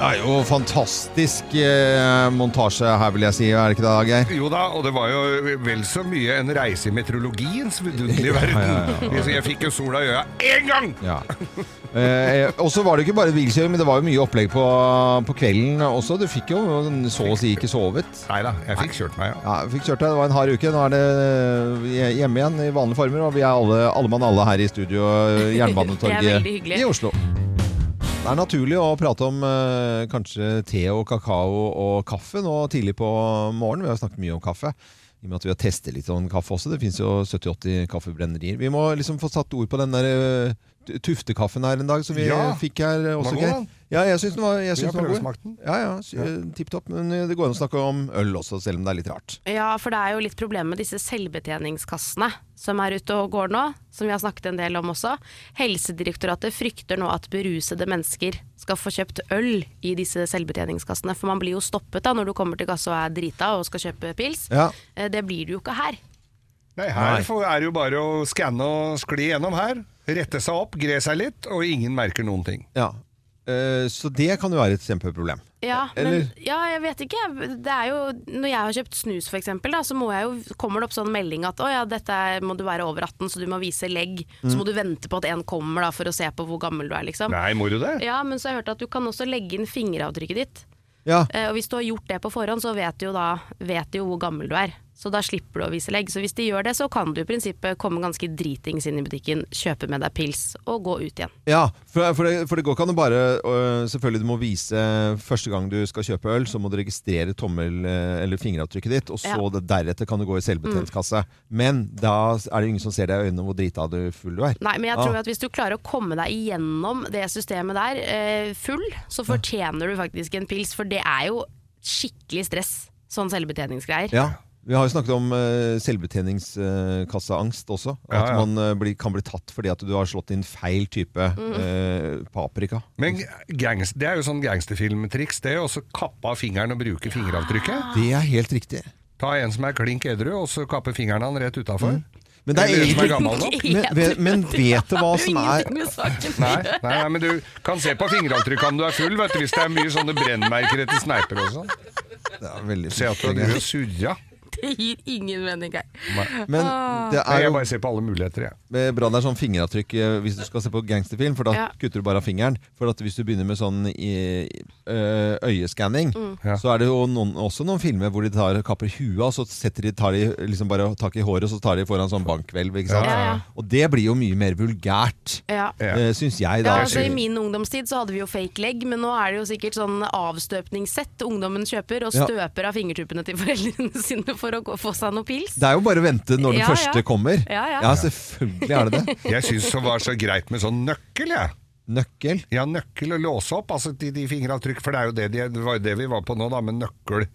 B: Det er jo fantastisk eh, montasje her, vil jeg si. Er det ikke det, Geir?
C: Jo da, og det var jo vel så mye en reise i meteorologiens vidunderlige verden.
B: Ja, ja, ja, ja.
C: Jeg fikk jo sola i øya én gang!
B: Ja. Eh, og så var det ikke bare bilkjøring, men det var jo mye opplegg på, på kvelden også. Du fikk jo så å si ikke sovet.
C: Nei da, jeg fikk kjørt meg,
B: ja. du fikk kjørt deg. Det var en hard uke. Nå er det hjemme igjen i vanlige former, og vi er alle, alle mann alle her i studio, eh,
D: Det er
B: Jernbanetorget
D: veldig hyggelig.
B: i Oslo. Det er naturlig å prate om eh, kanskje te og kakao og kaffe nå tidlig på morgenen. Vi har snakket mye om kaffe. I og med at vi har testet litt om kaffe også. Det fins jo 70-80 kaffebrennerier. Vi må liksom få satt ord på den der eh, tu- tuftekaffen her en dag som vi
C: Ja,
B: fikk her eh, også,
C: den var god,
B: Geir.
C: den.
B: Ja, jeg syns den var, jeg
C: Vi
B: syns
C: har
B: den var god.
C: prøvesmakt den.
B: Ja, ja, Tipp topp. Men eh, det går an å snakke om øl også, selv om det er litt rart.
D: Ja, for det er jo litt problem med disse selvbetjeningskassene som er ute og går nå, som vi har snakket en del om også. Helsedirektoratet frykter nå at berusede mennesker skal få kjøpt øl i disse selvbetjeningskassene, for man blir jo stoppet da når du kommer til kassa og er drita og skal kjøpe pils.
B: Ja.
D: Eh, Det blir du jo ikke her.
C: Nei,
B: Nei.
C: her får- er det jo bare å skanne og skli gjennom her. Rette seg opp, gre seg litt, og ingen merker noen ting.
B: Ja. Eh, Så det kan jo være et kjempeproblem.
D: Ja, men,
B: Eller-
D: ja, jeg vet ikke. Det er jo, når jeg har kjøpt snus for eksempel, da, så må jeg jo, kommer det opp sånn melding at å ja, dette er- må du være over 18, så du må vise legg. Så
C: Mm.
D: må du vente på at en kommer da, for å se på hvor gammel du er, liksom.
C: Nei, må du det?
D: Ja, men så har jeg hørt at du kan også legge inn fingeravtrykket ditt.
B: Ja.
D: Eh, og hvis du har gjort det på forhånd, så vet du jo da vet du jo hvor gammel du er. Så da slipper du å vise legg. Så hvis de gjør det, så kan du i prinsippet komme ganske dritings inn i butikken, kjøpe med deg pils og gå ut igjen.
B: Ja, for, for, det, for det går ikke an å bare øh, Selvfølgelig du må vise første gang du skal kjøpe øl, så må du registrere tommel- øh, eller fingeravtrykket ditt, og så
D: Ja. Mm.
B: det, deretter kan du gå i selvbetjentkassa. Men da er det ingen som ser deg i øynene hvor drita du full du er.
D: Nei, men jeg tror
B: Ah.
D: at hvis du klarer å komme deg igjennom det systemet der eh, full, så
B: Ah.
D: fortjener du faktisk en pils, for det er jo skikkelig stress, sånn selvbetjeningsgreier.
B: Ja. Vi har jo snakket om uh, selvbetjeningskasseangst også. At
C: Ja, ja.
B: man øh, blir- kan bli tatt fordi at du har slått inn feil type øh, paprika.
C: Men gangs, det er jo sånn gangsterfilmtriks, det å så kappe av fingeren og bruke fingeravtrykket.
B: Det er helt riktig.
C: Ta en som er klink edru, og så kappe fingeren han rett utafor.
B: Men det er
C: Eller en som
B: egentlig-
C: er gammel nok.
B: Men- men- men vet du hva som er-
C: Nei, nei, nei, men du kan se på fingeravtrykket om du er full, vet du, hvis det er mye sånne brennmerker etter sneiper og sånn. Se at du har surra.
D: Det gir ingen mening her.
B: Men
D: Ah.
B: det er
C: Jeg
B: jo
C: bare ser på alle muligheter, jeg.
B: Det er Bra det er sånn fingeravtrykk eh, hvis du skal se på gangsterfilm, for da
D: Ja.
B: kutter du bare av fingeren. For at hvis du begynner med sånn i- ø, øyeskanning,
D: Mm.
B: så er det jo noen, også noen filmer hvor de tar, kapper huet av, så setter de, tar de liksom bare tak i håret, og så tar de foran sånn bankhvelv. Ikke sant?
D: Ja, ja.
B: Og det blir jo mye mer vulgært,
D: Ja.
B: eh, syns jeg da.
D: Ja, altså I min ungdomstid så hadde vi jo fake leg, men nå er det jo sikkert sånn avstøpningssett ungdommen kjøper og
B: Ja.
D: støper av fingertuppene til foreldrene sine for å gå, få seg noe pils.
B: det er jo bare å vente når den
D: Ja, ja.
B: første kommer.
D: Ja, ja.
B: selvfølgelig er det det.
C: Jeg syns det var så greit med sånn nøkkel, jeg.
B: Nøkkel?
C: Ja, nøkkel å låse opp, altså de, de fingeravtrykk, for det er jo det, de, det var jo det vi var på nå, da, med nøkkel.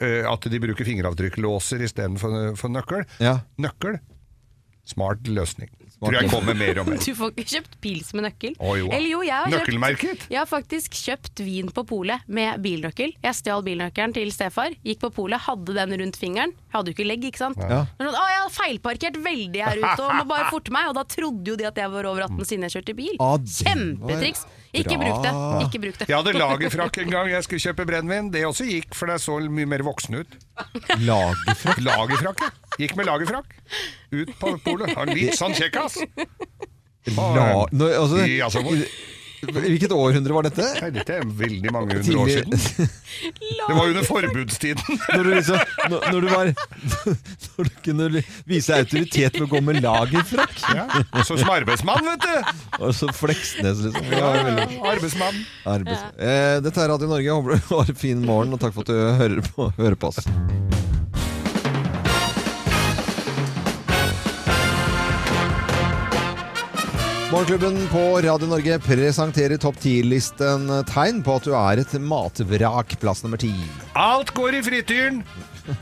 C: Eh, at de bruker fingeravtrykklåser istedenfor for nøkkel.
B: Ja.
C: Nøkkel. Smart løsning. Tror jeg kommer mer og mer.
D: Du får ikke kjøpt pils med nøkkel.
C: Å, jo da.
D: Eller jo, jeg har kjøpt-
C: Nøkkelmerket?
D: Jeg har faktisk kjøpt vin på polet med bilnøkkel. Jeg stjal bilnøkkelen til stefar, gikk på polet, hadde den rundt fingeren. Jeg hadde jo ikke legg, ikke sant.
B: Ja.
D: Men sånn, å, jeg har feilparkert veldig her ute og må bare forte meg. Og da trodde jo de at jeg var over 18 siden jeg kjørte bil.
C: Ah, det var
D: Kjempetriks! Ikke bruk det. Ikke bruk det.
C: Jeg hadde lagerfrakk en gang jeg skulle kjøpe brennevin. Det også gikk, for det så mye mer voksen ut.
B: Lagerfrakk?
C: Lagerfrakk, ja. Gikk med lagerfrakk. Ut på polet. Han er Litt sånn kjekkas.
B: La, nå, altså,
C: I, altså, hvor-
B: hvilket århundre var dette?
C: Nei, dette er veldig mange hundre år
B: Tidlig-
C: siden. Det var under forbudstiden.
B: Når du, liksom, når, når du var Når du kunne li- vise autoritet ved å gå med lagerfrakk.
C: Ja, så som arbeidsmann, vet du!
B: Og så Fleksnes, liksom. Det
C: Ja,
B: var
C: ja,
B: veldig-
C: arbeidsmann.
B: Arbeids... Eh, dette er Radio Norge. Jeg Håper du har en fin morgen, og takk for at du hører på, hører på oss. Morgenklubben på Radio Norge presenterer topp 10-listen tegn på at du er et matvrak. Plass nummer ti.
C: Alt går i frityren,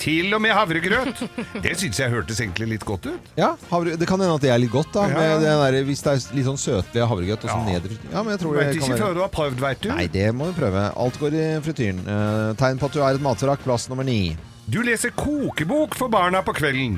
C: til og med havregrøt. Det syns jeg hørtes egentlig litt godt ut.
B: Ja, havre, Det kan hende at det er litt godt, da.
C: Ja.
B: Med den der, hvis det er litt sånn søtlig havregrøt. Og så ja. ja, men jeg tror det
C: Vet
B: kan
C: ikke før
B: være
C: du har prøvd, veit du.
B: Nei, det må vi prøve. Alt går i frityren. Eh, tegn på at du er et matvrak. Plass nummer ni.
C: Du leser kokebok for barna på kvelden.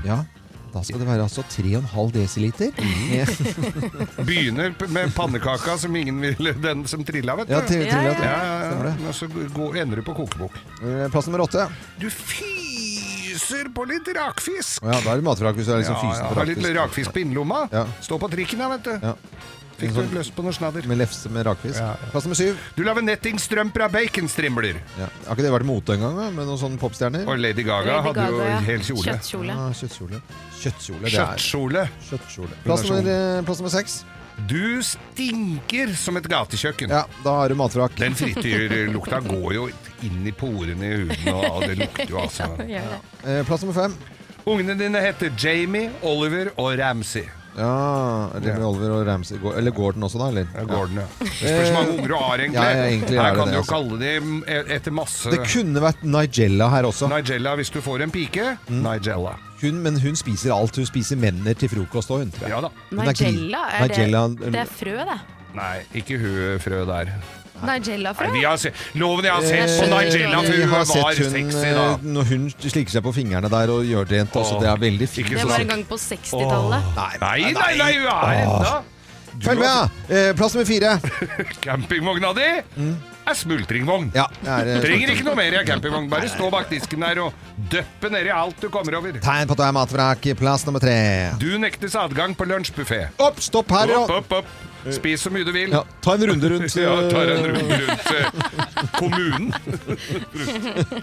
B: Da skal det være altså 3,5 desiliter.
C: Mm. Begynner p- med pannekaka som ingen ville Den som trilla, vet du.
B: Ja, til- trilla,
C: ja,
B: ja.
C: ja,
B: Stemmer det.
C: Men Så gå- ender du på kokebok.
B: Eh, Plass nummer åtte.
C: Du fyser på litt rakfisk!
B: Å ja, da er det matvrak hvis du er liksom
C: Ja,
B: fysen
C: ja,
B: på
C: har litt rakfisk på innlomma.
B: Ja.
C: Stå på trikken da, vet du.
B: Ja.
C: Fikk
B: En
C: du
B: sånn-
C: lyst på noe snadder?
B: Med lefse med rakfisk. Plass nummer syv.
C: Du lager nettingstrømper av baconstrimler.
B: Ja. Har ikke det vært mote engang, da, med noen sånne popstjerner?
C: Og Lady Gaga
B: Lady
C: hadde jo
B: Gaga, ja.
C: en hel kjole.
B: Kjøttkjole. Ja, kjøttkjole. Kjøttkjole, det er
C: Kjøttkjole.
B: Plass nummer, eh, plass nummer seks.
C: Du stinker som et gatekjøkken.
B: Ja, da har du matvrak.
C: Den frityrlukta går jo inn i porene i huden, og det lukter jo altså.
B: Plass nummer fem.
C: Ungene dine heter Jamie, Oliver og Ramsay.
B: Ja, Jimmy Oliver og Ramsay Go- Eller Gordon også, da? Eller? Ja,
C: Gordon, ja. Det spørs hvor mange unger du har, egentlig.
B: Ja, ja, egentlig er
C: Her
B: det
C: kan
B: det,
C: du jo
B: altså.
C: kalle dem e- etter masse
B: Det kunne vært Nigella her også.
C: Nigella hvis du får en pike.
B: Mm.
C: Nigella.
B: Hun, men hun spiser alt. Hun spiser menner til frokost òg, hun. tror jeg.
C: Ja da.
B: Hun er gri-
D: Nigella? Er
B: Nigella
D: det, det er frø, det.
C: Nei, ikke hun eh, frø der.
D: Nigella-frø?
C: Nei, vi har se Loven, jeg har sett på
B: Eh,
C: Nigella, for
B: vi
C: hun
B: har
C: var
B: sett hun,
C: sexy da.
B: eh, Når hun slikker seg på fingrene der og gjør det rent også,
C: Åh,
B: det er veldig fint.
D: Det var en gang på 60-tallet.
B: Nei,
C: Nei, nei, nei, hun er enda.
B: Følg med! ja. Eh, Plass nummer fire.
C: Campingvogna di er smultringvogn.
B: Mm. det er- eh,
C: Trenger ikke noe mer av campingvogn. Bare stå bak disken der og døppe nedi alt du kommer over.
B: Tegn på at det er matvrak. Plass nummer tre.
C: Du nektes adgang på lunsjbuffé.
B: Opp, stopp her, ja.
C: Opp, opp, opp. Spis så mye du vil.
B: ja. Ta en runde rundt.
C: Ja, tar en
B: eh,
C: runde rundt eh, kommunen.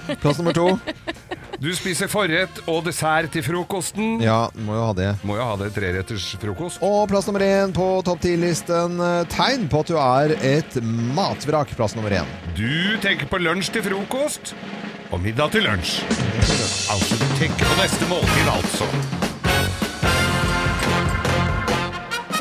B: eh, Plass nummer to.
C: Du spiser forrett og dessert til frokosten.
B: Ja, må jo ha det.
C: Må jo ha det treretters frokost.
B: Og plass nummer én på topp ti-listen. eh, Tegn på at du er et matvrak. Plass nummer én.
C: Du tenker på lunsj til frokost og middag til lunsj. Altså, du tenker på neste måltid, altså.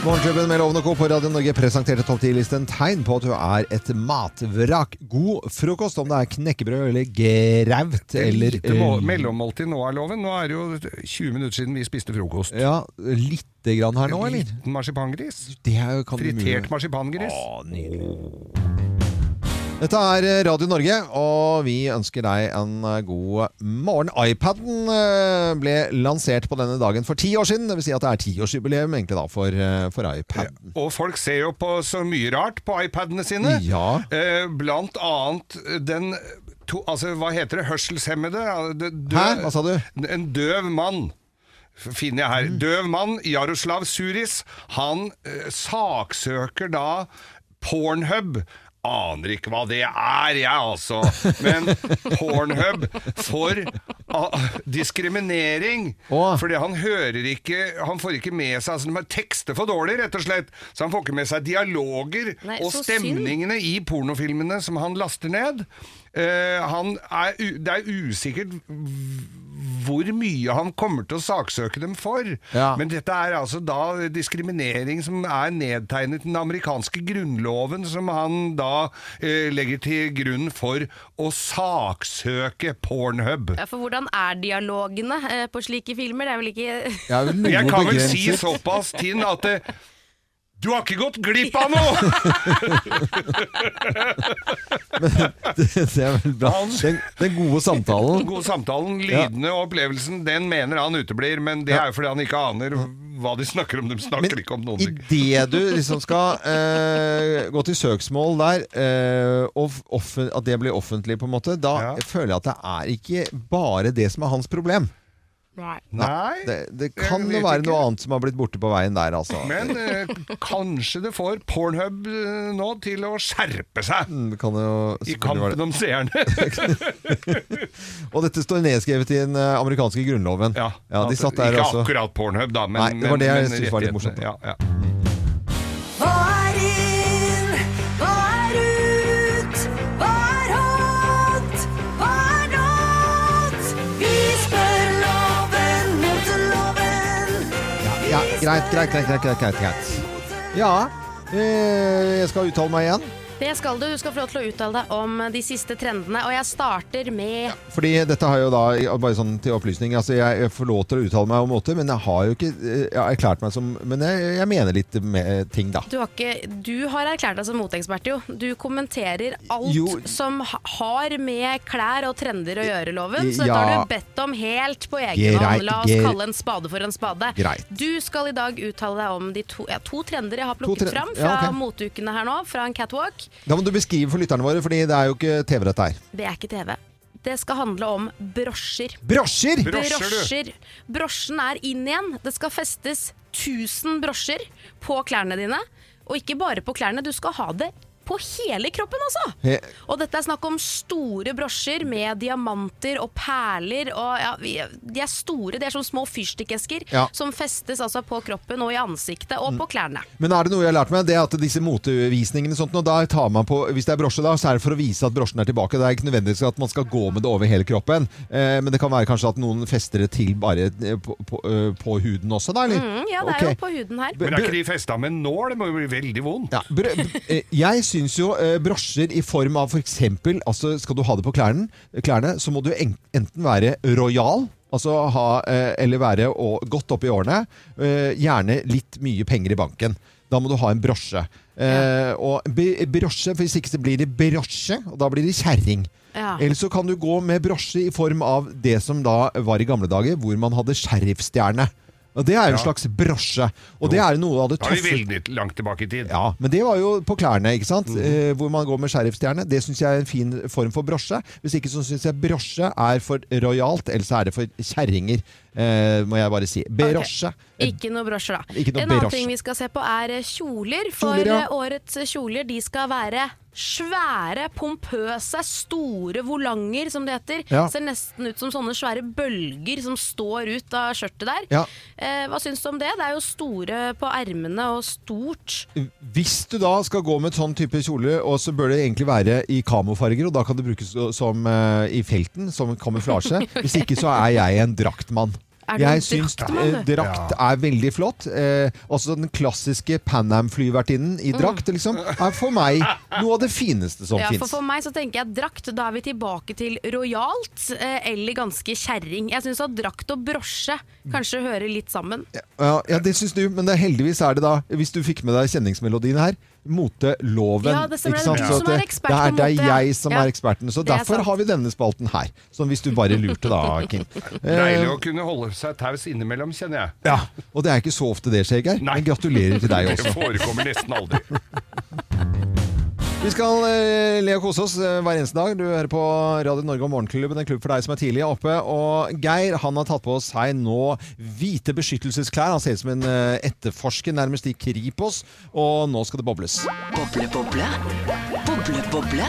B: Morgenklubben med Lovende Co. på Radio Norge presenterte topp 10-listen tegn på at du er et matvrak. God frokost, om det er knekkebrød eller graut eller eh,
C: Lite må- mellommåltid nå er loven. Nå er det jo 20 minutter siden vi spiste frokost.
B: Ja, lite grann her nå, eller? Sånn
C: Liten marsipangris.
B: Det er jo- kan det mulig-
C: Fritert marsipangris.
B: Ah. Dette er eh, Radio Norge, og vi ønsker deg en eh, god morgen. iPaden eh, ble lansert på denne dagen for ti år siden. Det vil si at det er tiårsjubileum egentlig da for, eh, for iPad.
C: Og folk ser jo på så mye rart på iPadene sine.
B: Ja.
C: Eh, blant annet den to, Altså, hva heter det? Hørselshemmede? Ja, det- dø-
B: Hæ? Altså Hva sa du?
C: En døv mann. F- Finner jeg her. Døv mann, Jaroslav Suris, han eh, saksøker da Pornhub. Aner ikke hva det er, jeg altså. Men Pornhub for ah, diskriminering. Fordi han hører ikke Han får ikke med seg altså, De tekster for dårlig, rett og slett. Så han får ikke med seg dialoger
N: Nei,
C: og
N: så
C: stemningene i pornofilmene som han laster ned. Eh, han er, u- det er usikkert hvor mye han kommer til å saksøke dem for. Men dette er altså da diskriminering som er nedtegnet i den amerikanske grunnloven, som han da eh, legger til grunn for å saksøke Pornhub.
D: Ja, for hvordan er dialogene eh, på slike filmer? Det er vel ikke
B: Jeg,
C: Jeg kan vel si såpass, Tinn, at eh, du har ikke gått glipp av noe!
B: det, det er vel bra. Den, den gode samtalen.
C: Den gode samtalen, lydene og opplevelsen, den mener han uteblir, men det er jo fordi han ikke aner hva de snakker om. De snakker ikke om noen ting.
B: Idet du liksom skal eh, gå til søksmål der, eh, og f- offen, at det blir offentlig, på en måte, da føler jeg at det er ikke bare det som er hans problem.
C: Nei,
B: Det, det kan
C: jeg
B: jo
C: vet
B: være
C: ikke.
B: noe annet som har blitt borte på veien der, altså.
C: Men eh, kanskje det får Pornhub eh, nå til å skjerpe seg
B: Mm, det kan jo
C: i
B: selvfølgelig være
C: kampen
B: det.
C: om seerne.
B: Og dette står nedskrevet i den eh, amerikanske grunnloven. Ja, de satt der
C: Ikke
B: også.
C: akkurat Pornhub, da, men,
B: Nei, det var det jeg
C: men- men
B: syntes var litt
C: rettighetene.
B: morsomt, da.
C: Ja, ja.
E: Hva er inn? Hva er ut? Hva er hot? Hva er not? Vi spør loven mot loven.
B: Ja, greit, greit, greit, greit, greit, greit, greit. Ja, eh, jeg skal uttale meg igjen.
D: Det skal du. Du skal få lov til å uttale deg om de siste trendene. Og jeg starter med
B: Fordi dette har jo da, bare sånn til opplysning, altså jeg jeg får lov til å uttale meg om måter, men jeg har jo ikke eh, jeg har erklært meg som Men jeg, jeg mener litt med ting, da.
D: du har, ikke, du har erklært deg som moteekspert, jo. Du kommenterer alt
B: Jo. Eh,
D: som ha- har med klær og trender å gjøre, Loven. Så dette
B: Ja.
D: har du bedt om helt på egen
B: Greit,
D: hånd. La oss
B: greit.
D: kalle en spade for en spade.
B: Greit.
D: Du skal i dag uttale deg om de to, ja, to trender jeg har
B: To
D: plukket
B: tre-
D: fram fra
B: ja, ok.
D: moteukene her nå, fra en catwalk.
B: Da må du beskrive for lytterne våre, fordi det er jo ikke TV dette her.
D: Det er ikke TV. Det skal handle om brosjer.
B: Brosjer? Brosjer, du.
D: Brosjer. Brosjen er inn igjen. Det skal festes 1000 brosjer på klærne dine. Og ikke bare på klærne, du skal ha det på hele kroppen, altså!
B: He-
D: Og dette er snakk om store brosjer med diamanter og perler. Og ja, vi- de er store, de er som små fyrstikkesker
B: Ja. Mm.
D: som festes altså på kroppen og i ansiktet og på klærne.
B: Men er det noe jeg har lært meg, det er at disse motevisningene og sånt, og da tar man på, hvis det er brosje da, så er det for å vise at brosjen er tilbake. Det er ikke nødvendigvis at man skal gå med det over hele kroppen, eh, men det kan være kanskje at noen fester det til bare eh, på, på, eh, på huden også, da, eller?
D: Mm, ja, det er
B: Ok.
D: jo på huden her.
C: Men er ikke de festa med en nål? Det må jo bli veldig vondt.
B: Br- b- eh, Jeg syns jo eh, brosjer i form av f.eks. eksempel altså skal du ha det på klærne, klærne så må du en- enten være rojal, altså ha, eh, eller være å- godt oppe i årene. eh, Gjerne litt mye penger i banken. Da må du ha en brosje. Eh, Og b- brosje, for hvis ikke så blir det brosje, og da blir det kjerring.
E: Ja.
B: Eller så kan du gå med brosje i form av det som da var i gamle dager, hvor man hadde sheriffstjerne. Og det er jo en
C: Ja.
B: slags brosje. Og det er jo noe av det
C: Da er vi
B: tøffe
C: veldig langt tilbake i tid.
B: ja, men det var jo på klærne, ikke sant? Eh, hvor man går med sheriffstjerne. Det syns jeg er en fin form for brosje. Hvis ikke så syns jeg brosje er for rojalt, eller så er det for kjerringer, eh, må jeg bare si. Brosje.
D: Ikke noe brosjer, da.
B: Eh, Ikke noe
D: en annen
B: brosjer.
D: ting vi skal se på, er eh, kjoler. For
B: Kjoler, ja.
D: eh, årets kjoler de skal være svære, pompøse, store volanger, som det heter.
E: Ja.
D: Ser nesten ut som sånne svære bølger som står ut av skjørtet der.
B: Ja.
D: Eh, hva syns du om det? Det er jo store på ermene og stort.
B: Hvis du da skal gå med sånn type kjole, og så bør det egentlig være i kamofarger, og da kan det brukes så- som eh, i felten, som kamuflasje. Hvis ikke så er jeg en draktmann.
E: Er du en
B: jeg syns
E: draktmann,
B: eh,
E: du?
B: drakt er veldig flott. Eh, også den klassiske Pan Am-flyvertinnen i
D: Mm.
B: drakt, liksom, er for meg noe av det fineste som
D: ja,
B: finnes.
D: for, for meg så tenker jeg drakt. Da er vi tilbake til rojalt eh, eller ganske kjerring. Jeg syns at drakt og brosje kanskje hører litt sammen.
B: Ja, ja, det syns du, men det er heldigvis er det da, hvis du fikk med deg kjenningsmelodien her, moteloven.
D: Ja, det stemmer.
B: ikke sant?
D: Det er du
B: Så
D: som
B: at
D: er ekspert på
B: Det er
D: mote,
B: det
D: ja.
B: jeg som
D: Ja.
B: er eksperten. Så
D: Det er
B: derfor
D: sant.
B: har vi denne spalten her, som hvis du bare lurte da, Kim.
C: Deilig å kunne holde seg taus innimellom, kjenner
B: Eh.
C: jeg.
B: Ja, og det er ikke så ofte det skjer, Geir. Men gratulerer til deg
C: Det
B: også.
C: forekommer nesten aldri.
B: Vi skal eh, le og kose oss eh, hver eneste dag. Du hører på Radio Norge og Morgenklubben, en klubb for deg som er tidlig oppe. Og Geir han har tatt på seg nå hvite beskyttelsesklær. Han ser ut som en eh, etterforsker, nærmest i Kripos. Og nå skal det bobles.
E: Boble, boble. Boble, boble.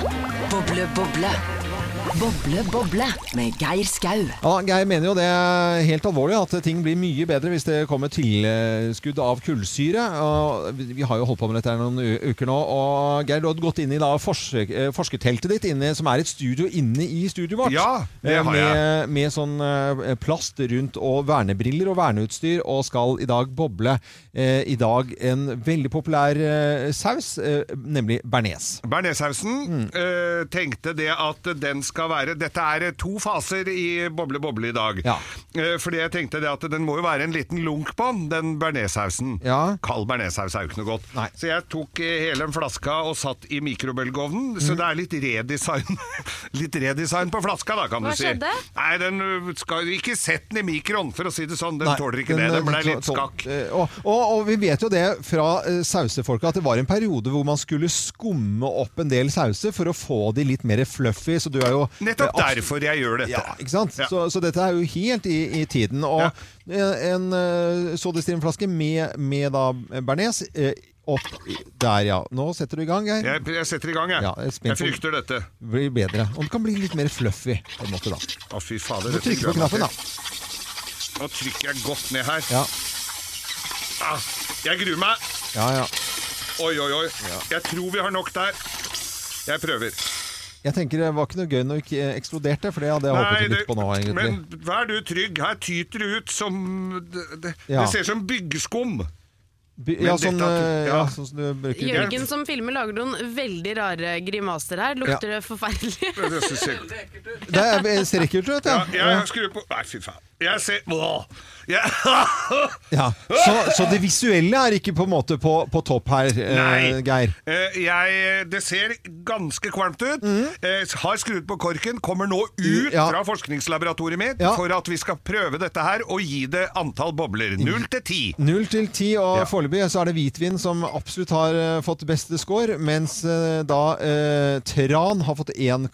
E: Boble, boble. Boble, boble med Geir Skau.
B: Ja, Geir mener jo det er helt alvorlig at ting blir mye bedre hvis det kommer tilskudd av kullsyre. Og vi vi har jo holdt på med dette her noen u- uker nå. Og Geir, du har gått inn i da forsk eh, forskerteltet ditt, inne, som er et studio inne i studioet vårt.
C: Ja, det
B: Eh,
C: har
B: med, med sånn eh, plast rundt og vernebriller og verneutstyr, og skal i dag boble eh, i dag en veldig populær eh, saus, eh, nemlig bearnés.
C: Bearnéssausen eh, tenkte det at den skal være Dette er to faser i Boble Boble i dag. Eh, fordi jeg tenkte det at den må jo være en liten lunk på den, den bearnéssausen. Kald bearnéssaus er jo ikke noe godt. Så jeg tok eh, hele den flaska og satt i mikrobølgeovnen,
B: Mhm.
C: så det er litt redesign Litt redesign på flaska, da, kan
D: Hva
C: du si.
D: skjedde?
C: Nei, den eh, skal Ikke sett den i mikroen, for å si det sånn. Den
B: Nei,
C: tåler ikke
B: den, eh,
C: det. Den ble
B: den
C: litt
B: tål-
C: skakk.
B: Eh, Og, og, og vi vet jo det fra eh, sausefolka at det var en periode hvor man skulle skumme opp en del sauser for å få de litt mer fluffy. Så du er jo
C: Nettopp
B: eh, abs-
C: derfor jeg gjør dette.
B: Ja, ikke sant? Så, så dette er jo helt i, i tiden. Og en, en eh, sodastreamflaske med, med da bearnés eh, opp der, ja. Nå setter du i gang, Geir.
C: Jeg, jeg setter i gang, jeg.
B: Ja, jeg er
C: jeg
B: spent på-
C: frykter dette.
B: Blir bedre. Og det kan bli litt mer fluffy på en måte, da.
C: Å, fy fader.
B: Du
C: dette
B: trykker på
C: gruer jeg meg
B: knappen, da.
C: til. Nå trykker jeg godt ned her.
B: Ja.
C: Ah, jeg gruer meg.
B: Ja, ja.
C: Oi, oi, oi. Jeg tror vi har nok der. Jeg prøver.
B: Jeg tenker det var ikke noe gøy når det ikke eh, eksploderte, for det hadde jeg
C: Nei,
B: håpet
C: det-
B: litt på nå, egentlig.
C: Men vær du trygg, her tyter det ut som Det, det,
B: Ja.
C: det ser ut som byggskum.
B: By- Ja, sånn, eh, ja, sånn som du bruker
D: Jørgen som filmer lager noen veldig rare grimaser her. Lukter det forferdelig?
C: Det synes jeg-
B: Det er, jeg ser ikke ut, vet du.
C: Ja, jeg, jeg skrur på Nei, fy faen. Jeg ser Åh! Jeg,
B: Ja. Så, så det visuelle er ikke på en måte på, på topp her, eh,
C: Nei.
B: Geir.
C: Eh, jeg, det ser ganske kvalmt ut.
B: Mm.
C: Eh, har skrudd på korken, kommer nå ut fra forskningslaboratoriet mitt for at vi skal prøve dette her og gi det antall bobler.
B: Mm.
C: Null til ti.
B: Null til ti, og foreløpig så er det hvitvin som absolutt har eh, fått beste score, mens eh, da eh, tran har fått 1,3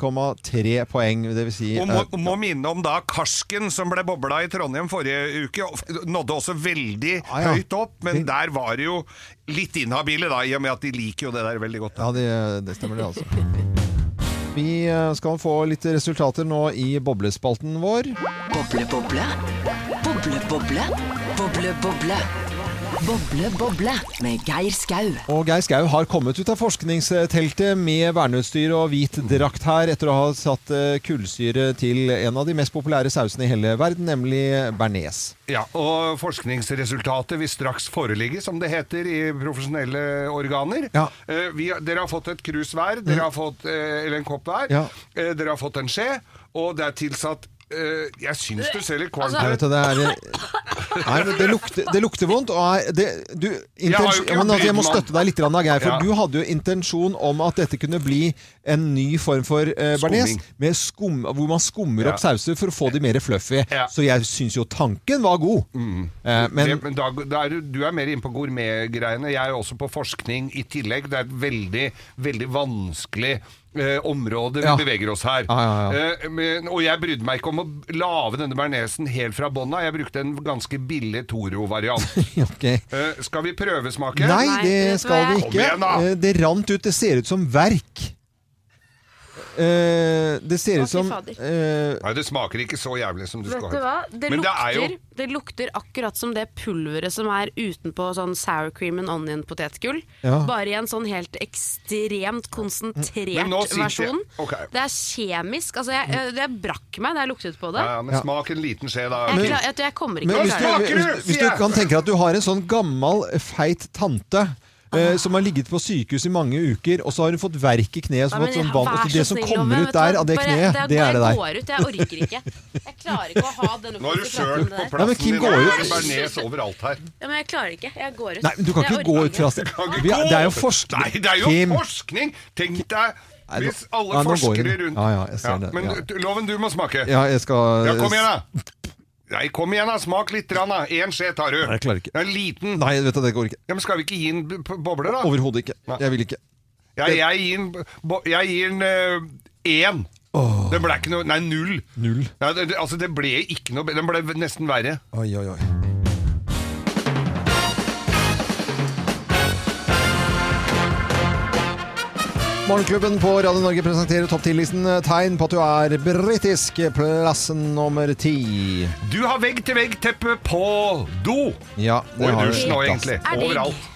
B: poeng. Det vil si
C: Og må,
B: eh,
C: må minne om da karsken som ble bobla i Trondheim forrige uke. og Nådde også veldig
B: ja.
C: høyt opp, men der var det jo litt inhabile, da, i og med at de liker jo det der veldig godt.
B: Ja, det, det stemmer det, altså. Vi eh, skal få litt resultater nå i boblespalten vår.
E: Boble, boble. Boble, boble. Boble, boble. Boble, boble med Geir Skau.
B: Og Geir Skau har kommet ut av forskningsteltet med verneutstyr og hvit drakt her, etter å ha satt eh, kullsyre til en av de mest populære sausene i hele verden, nemlig bearnés.
C: Ja, og forskningsresultatet vil straks foreligge, som det heter i profesjonelle organer. Eh, vi, dere har fått et krus hver, dere har fått, eh, eller en kopp hver.
B: Mm. Ja.
C: Eh, dere har fått en skje, og det er tilsatt eh, Jeg syns du ser litt kvalm
B: Nei, vet
C: ut.
B: du, det, er, eh, nei, men det, lukter, det lukter vondt. Og er, det, du,
C: Jeg har
B: intens,
C: jo ikke
B: jeg, men, altså, jeg må
C: brydd meg.
B: støtte deg litt, grann, Geir. For
C: Ja.
B: du hadde jo intensjon om at dette kunne bli en ny form for uh, bearnés,
C: Skumming.
B: med skum, hvor man skummer
C: Ja.
B: opp sauser for å få de mer fluffy. Så jeg syns jo tanken var god.
C: Mm.
B: Eh, men
C: det, men da, da er du, du er mer inne på gourmetgreiene. Jeg er jo også på forskning i tillegg. Det er et veldig, veldig vanskelig eh, område vi
B: Ja.
C: beveger oss her.
B: Ja, ja, ja.
C: Eh, men, og jeg brydde meg ikke om å lage denne bearnésen helt fra bånda. Jeg brukte en ganske billig Toro-variant.
B: ok.
C: Eh, skal vi prøvesmake?
B: Nei, det skal vi
C: Kom
B: ikke.
C: igjen, da!
B: Eh, det rant ut. Det ser ut som verk. Eh, det ser ut som
D: fader.
B: eh,
C: Nei, det smaker ikke så jævlig som du
D: Vet
C: skal
D: du hva? Det
C: Men det er
D: lukter,
C: jo-
D: det, lukter akkurat som det pulveret som er utenpå sånn sour cream and onion potetgull.
C: Ja.
D: Bare i en sånn helt ekstremt
C: Men nå
D: konsentrert
C: sitter jeg-
D: versjon.
C: Ok.
D: Det er kjemisk. Altså, jeg, jeg, jeg brakk meg da jeg luktet på det.
C: Ja, ja, men smak en liten skje, da.
D: Jeg, klar, jeg, jeg kommer ikke
B: Men hvis
D: å
B: du,
D: klare det.
B: hvis, hvis du kan tenke deg at du har en sånn gammel, feit tante eh, som har ligget på sykehus i mange uker, og så har hun fått verk i kneet.
D: Nei,
B: Så
D: men
B: fått sånn
D: jeg-
B: vann,
D: vær
B: og så
D: så
B: det som
D: snill,
B: kommer
D: Loven,
B: ut der
D: vet
B: av
D: du,
B: det
D: bare-
B: kneet, det er det
D: Jeg
B: der.
D: går ut, jeg orker ikke. Jeg klarer ikke å ha den
C: Nå er du
D: opplevelsen
C: sjøl
D: der.
C: på
B: Nei, men
C: plassen
B: Kim
C: din.
B: går jo-
C: Det er bearnés overalt her.
D: Ja, men jeg klarer ikke. Jeg går ut.
B: Nei, men du kan
D: Jeg
B: ikke
D: orker
B: gå ut fra
C: Du kan ikke
B: Vi er- Det er jo
C: gå.
B: forskning.
C: Nei, det er jo
B: Kim.
C: forskning! Tenk deg
B: Nei, nå-
C: hvis
B: Nei,
C: alle
B: nå går
C: forskere
B: hun.
C: rundt
B: Ja, ja, jeg ser det,
C: Men
B: ja.
C: du- Loven, du må smake.
B: Ja, jeg skal
C: Ja, kom igjen, da! Nei, kom igjen, da! Smak litt, grann, da. Én skje tar du.
B: Nei, jeg klarer ikke.
C: Det er en liten.
B: Nei, vet du, det går ikke.
C: Ja, men skal vi ikke gi den b- p- bobler, da?
B: Overhodet ikke. Jeg vil ikke.
C: Ja, jeg gir den bo- Jeg gir den eh, én. Det ble ikke noe Nei, null.
B: Null.
C: Nei, det, det- altså, det ble ikke noe be- Den ble nesten verre.
B: Oi, oi, oi. Morgenklubben på Radio Norge presenterer topp 10-listen tegn på at du er britisk. Plassen nummer ti.
C: Du har vegg-til-vegg-teppe på do.
B: Ja,
C: Og i
B: har
C: dusjen òg,
B: jeg.
C: egentlig.
B: Ja.
C: Overalt.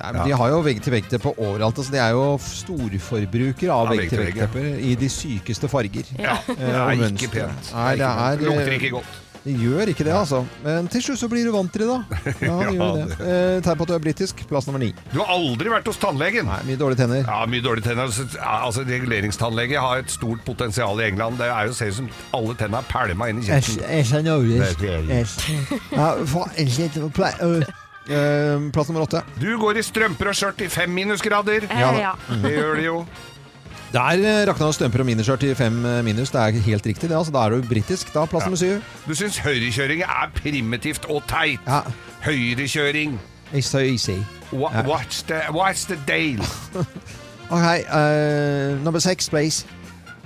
B: Nei, men De har jo vegg-til-vegg-teppe overalt. Altså, de er jo storforbrukere av
C: Ja,
B: vegg-til-vegg-tepper i de sykeste farger.
C: Ja.
B: Eh,
C: Det er
B: og
C: ikke
B: mønstre.
C: pent.
B: Nei,
C: Det
B: det
C: er
B: er, eh,
C: ikke pent. Lukter ikke godt.
B: Det gjør ikke det, altså. Men til slutt så blir du vant til det, da. Ja, det
C: Ja,
B: gjør det. Eh, tegn på at du er britisk. Plass nummer ni.
C: Du har aldri vært hos tannlegen.
B: Nei, Mye dårlige tenner.
C: Ja, mye dårlige tenner. Altså, altså, Reguleringstannlege har et stort potensial i England. Det er jo ser ut som alle tennene er pælma inn i kjeften.
B: øh, Plass nummer åtte.
C: Du går i strømper og skjørt i fem minusgrader.
B: Ja da. Ja.
C: Det gjør det jo.
B: Der eh, rakna det strømper og miniskjørt i fem eh, minus. Det er helt riktig, det. altså. Da er du britisk. Da, plass nummer syv.
C: Du syns høyrekjøring er primitivt og teit. Høyrekjøring.
B: It's so easy.
C: Wha-
B: Ja.
C: What's the, what's the deal?
B: Ok, eh, nummer seks, please.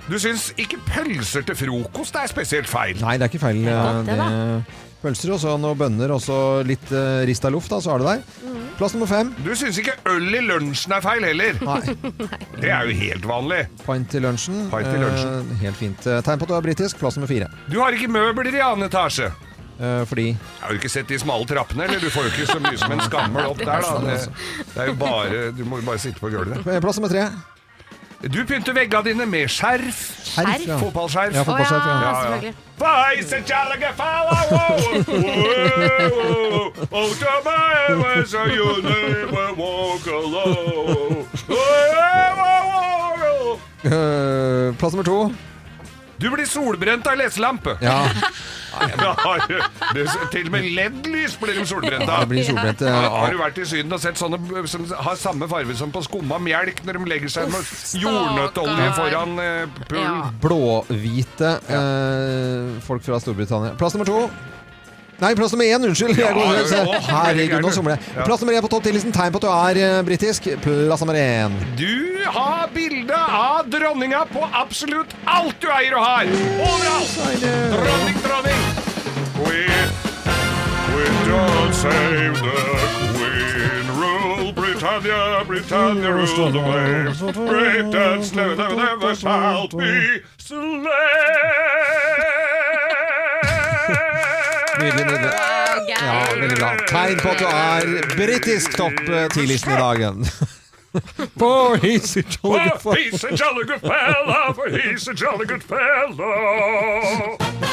C: Du syns ikke pølser til frokost er spesielt feil.
B: Nei, det er ikke feil.
C: godt, det,
B: eh, det- Pølser og så noen bønner og så litt eh, rist av luft, da, så har du deg. Plass nummer fem.
C: Du syns ikke øl i lunsjen er feil heller. Det er jo helt vanlig.
B: Pint til lunsjen.
C: Pint til lunsjen.
B: Eh, helt fint. Eh, Tegn på at du er britisk. Plass nummer fire.
C: Du har ikke møbler i annen etasje.
B: Eh, fordi
C: Jeg har jo ikke sett de smale trappene, eller du får jo ikke så mye som en skammel opp der. da Det, det er jo bare, Du må jo bare sitte på gulvet.
B: Eh, Plass nummer tre.
C: Du pynter veggene dine med skjerf.
B: Skjerf, ja.
C: Fotballskjerf.
B: Ja, fotballskjerf, ja. Å ja, selvfølgelig.
C: Paisa chalaga fala, wow, wow, wow. Oh, Jamaia, so you never walk alone. Wow, wow, wow.
B: Øh, plass nummer to.
C: Du blir solbrent av leselampe.
B: Ja.
C: Nei, men har du- det er- Til og med LED-lys blir de solbrent
B: Ja,
C: av.
B: det blir solbrent, eh, ja.
C: Har- Har du vært i Syden og sett sånne som har samme farge som på skumma melk når de legger seg med jordnøtteolje foran eh, pullen?
B: Blåhvite eh, folk fra Storbritannia. Plass nummer to. Nei, plass nummer én, unnskyld.
C: Ja,
B: Jeg går-
C: det var-
B: Herregud, nå somler
C: Ja.
B: jeg. Plass nummer én på topp 10-listen. Tegn på at du er eh, britisk. Plass nummer én.
C: Du har bilde av dronninga på absolutt alt du eier og har! Overalt! Dronning, dronning! Queen, queen don't save the queen. Rule Britannia, Britannia rule the waves. Great and slow, never, never shall be
B: Nydelig, nydelig. Ja, veldig bra. Tegn på at du er britisk topp 10-listen i dagen. Boy, he's a jolly good
C: He's a jolly good fella, for he's a jolly good fella.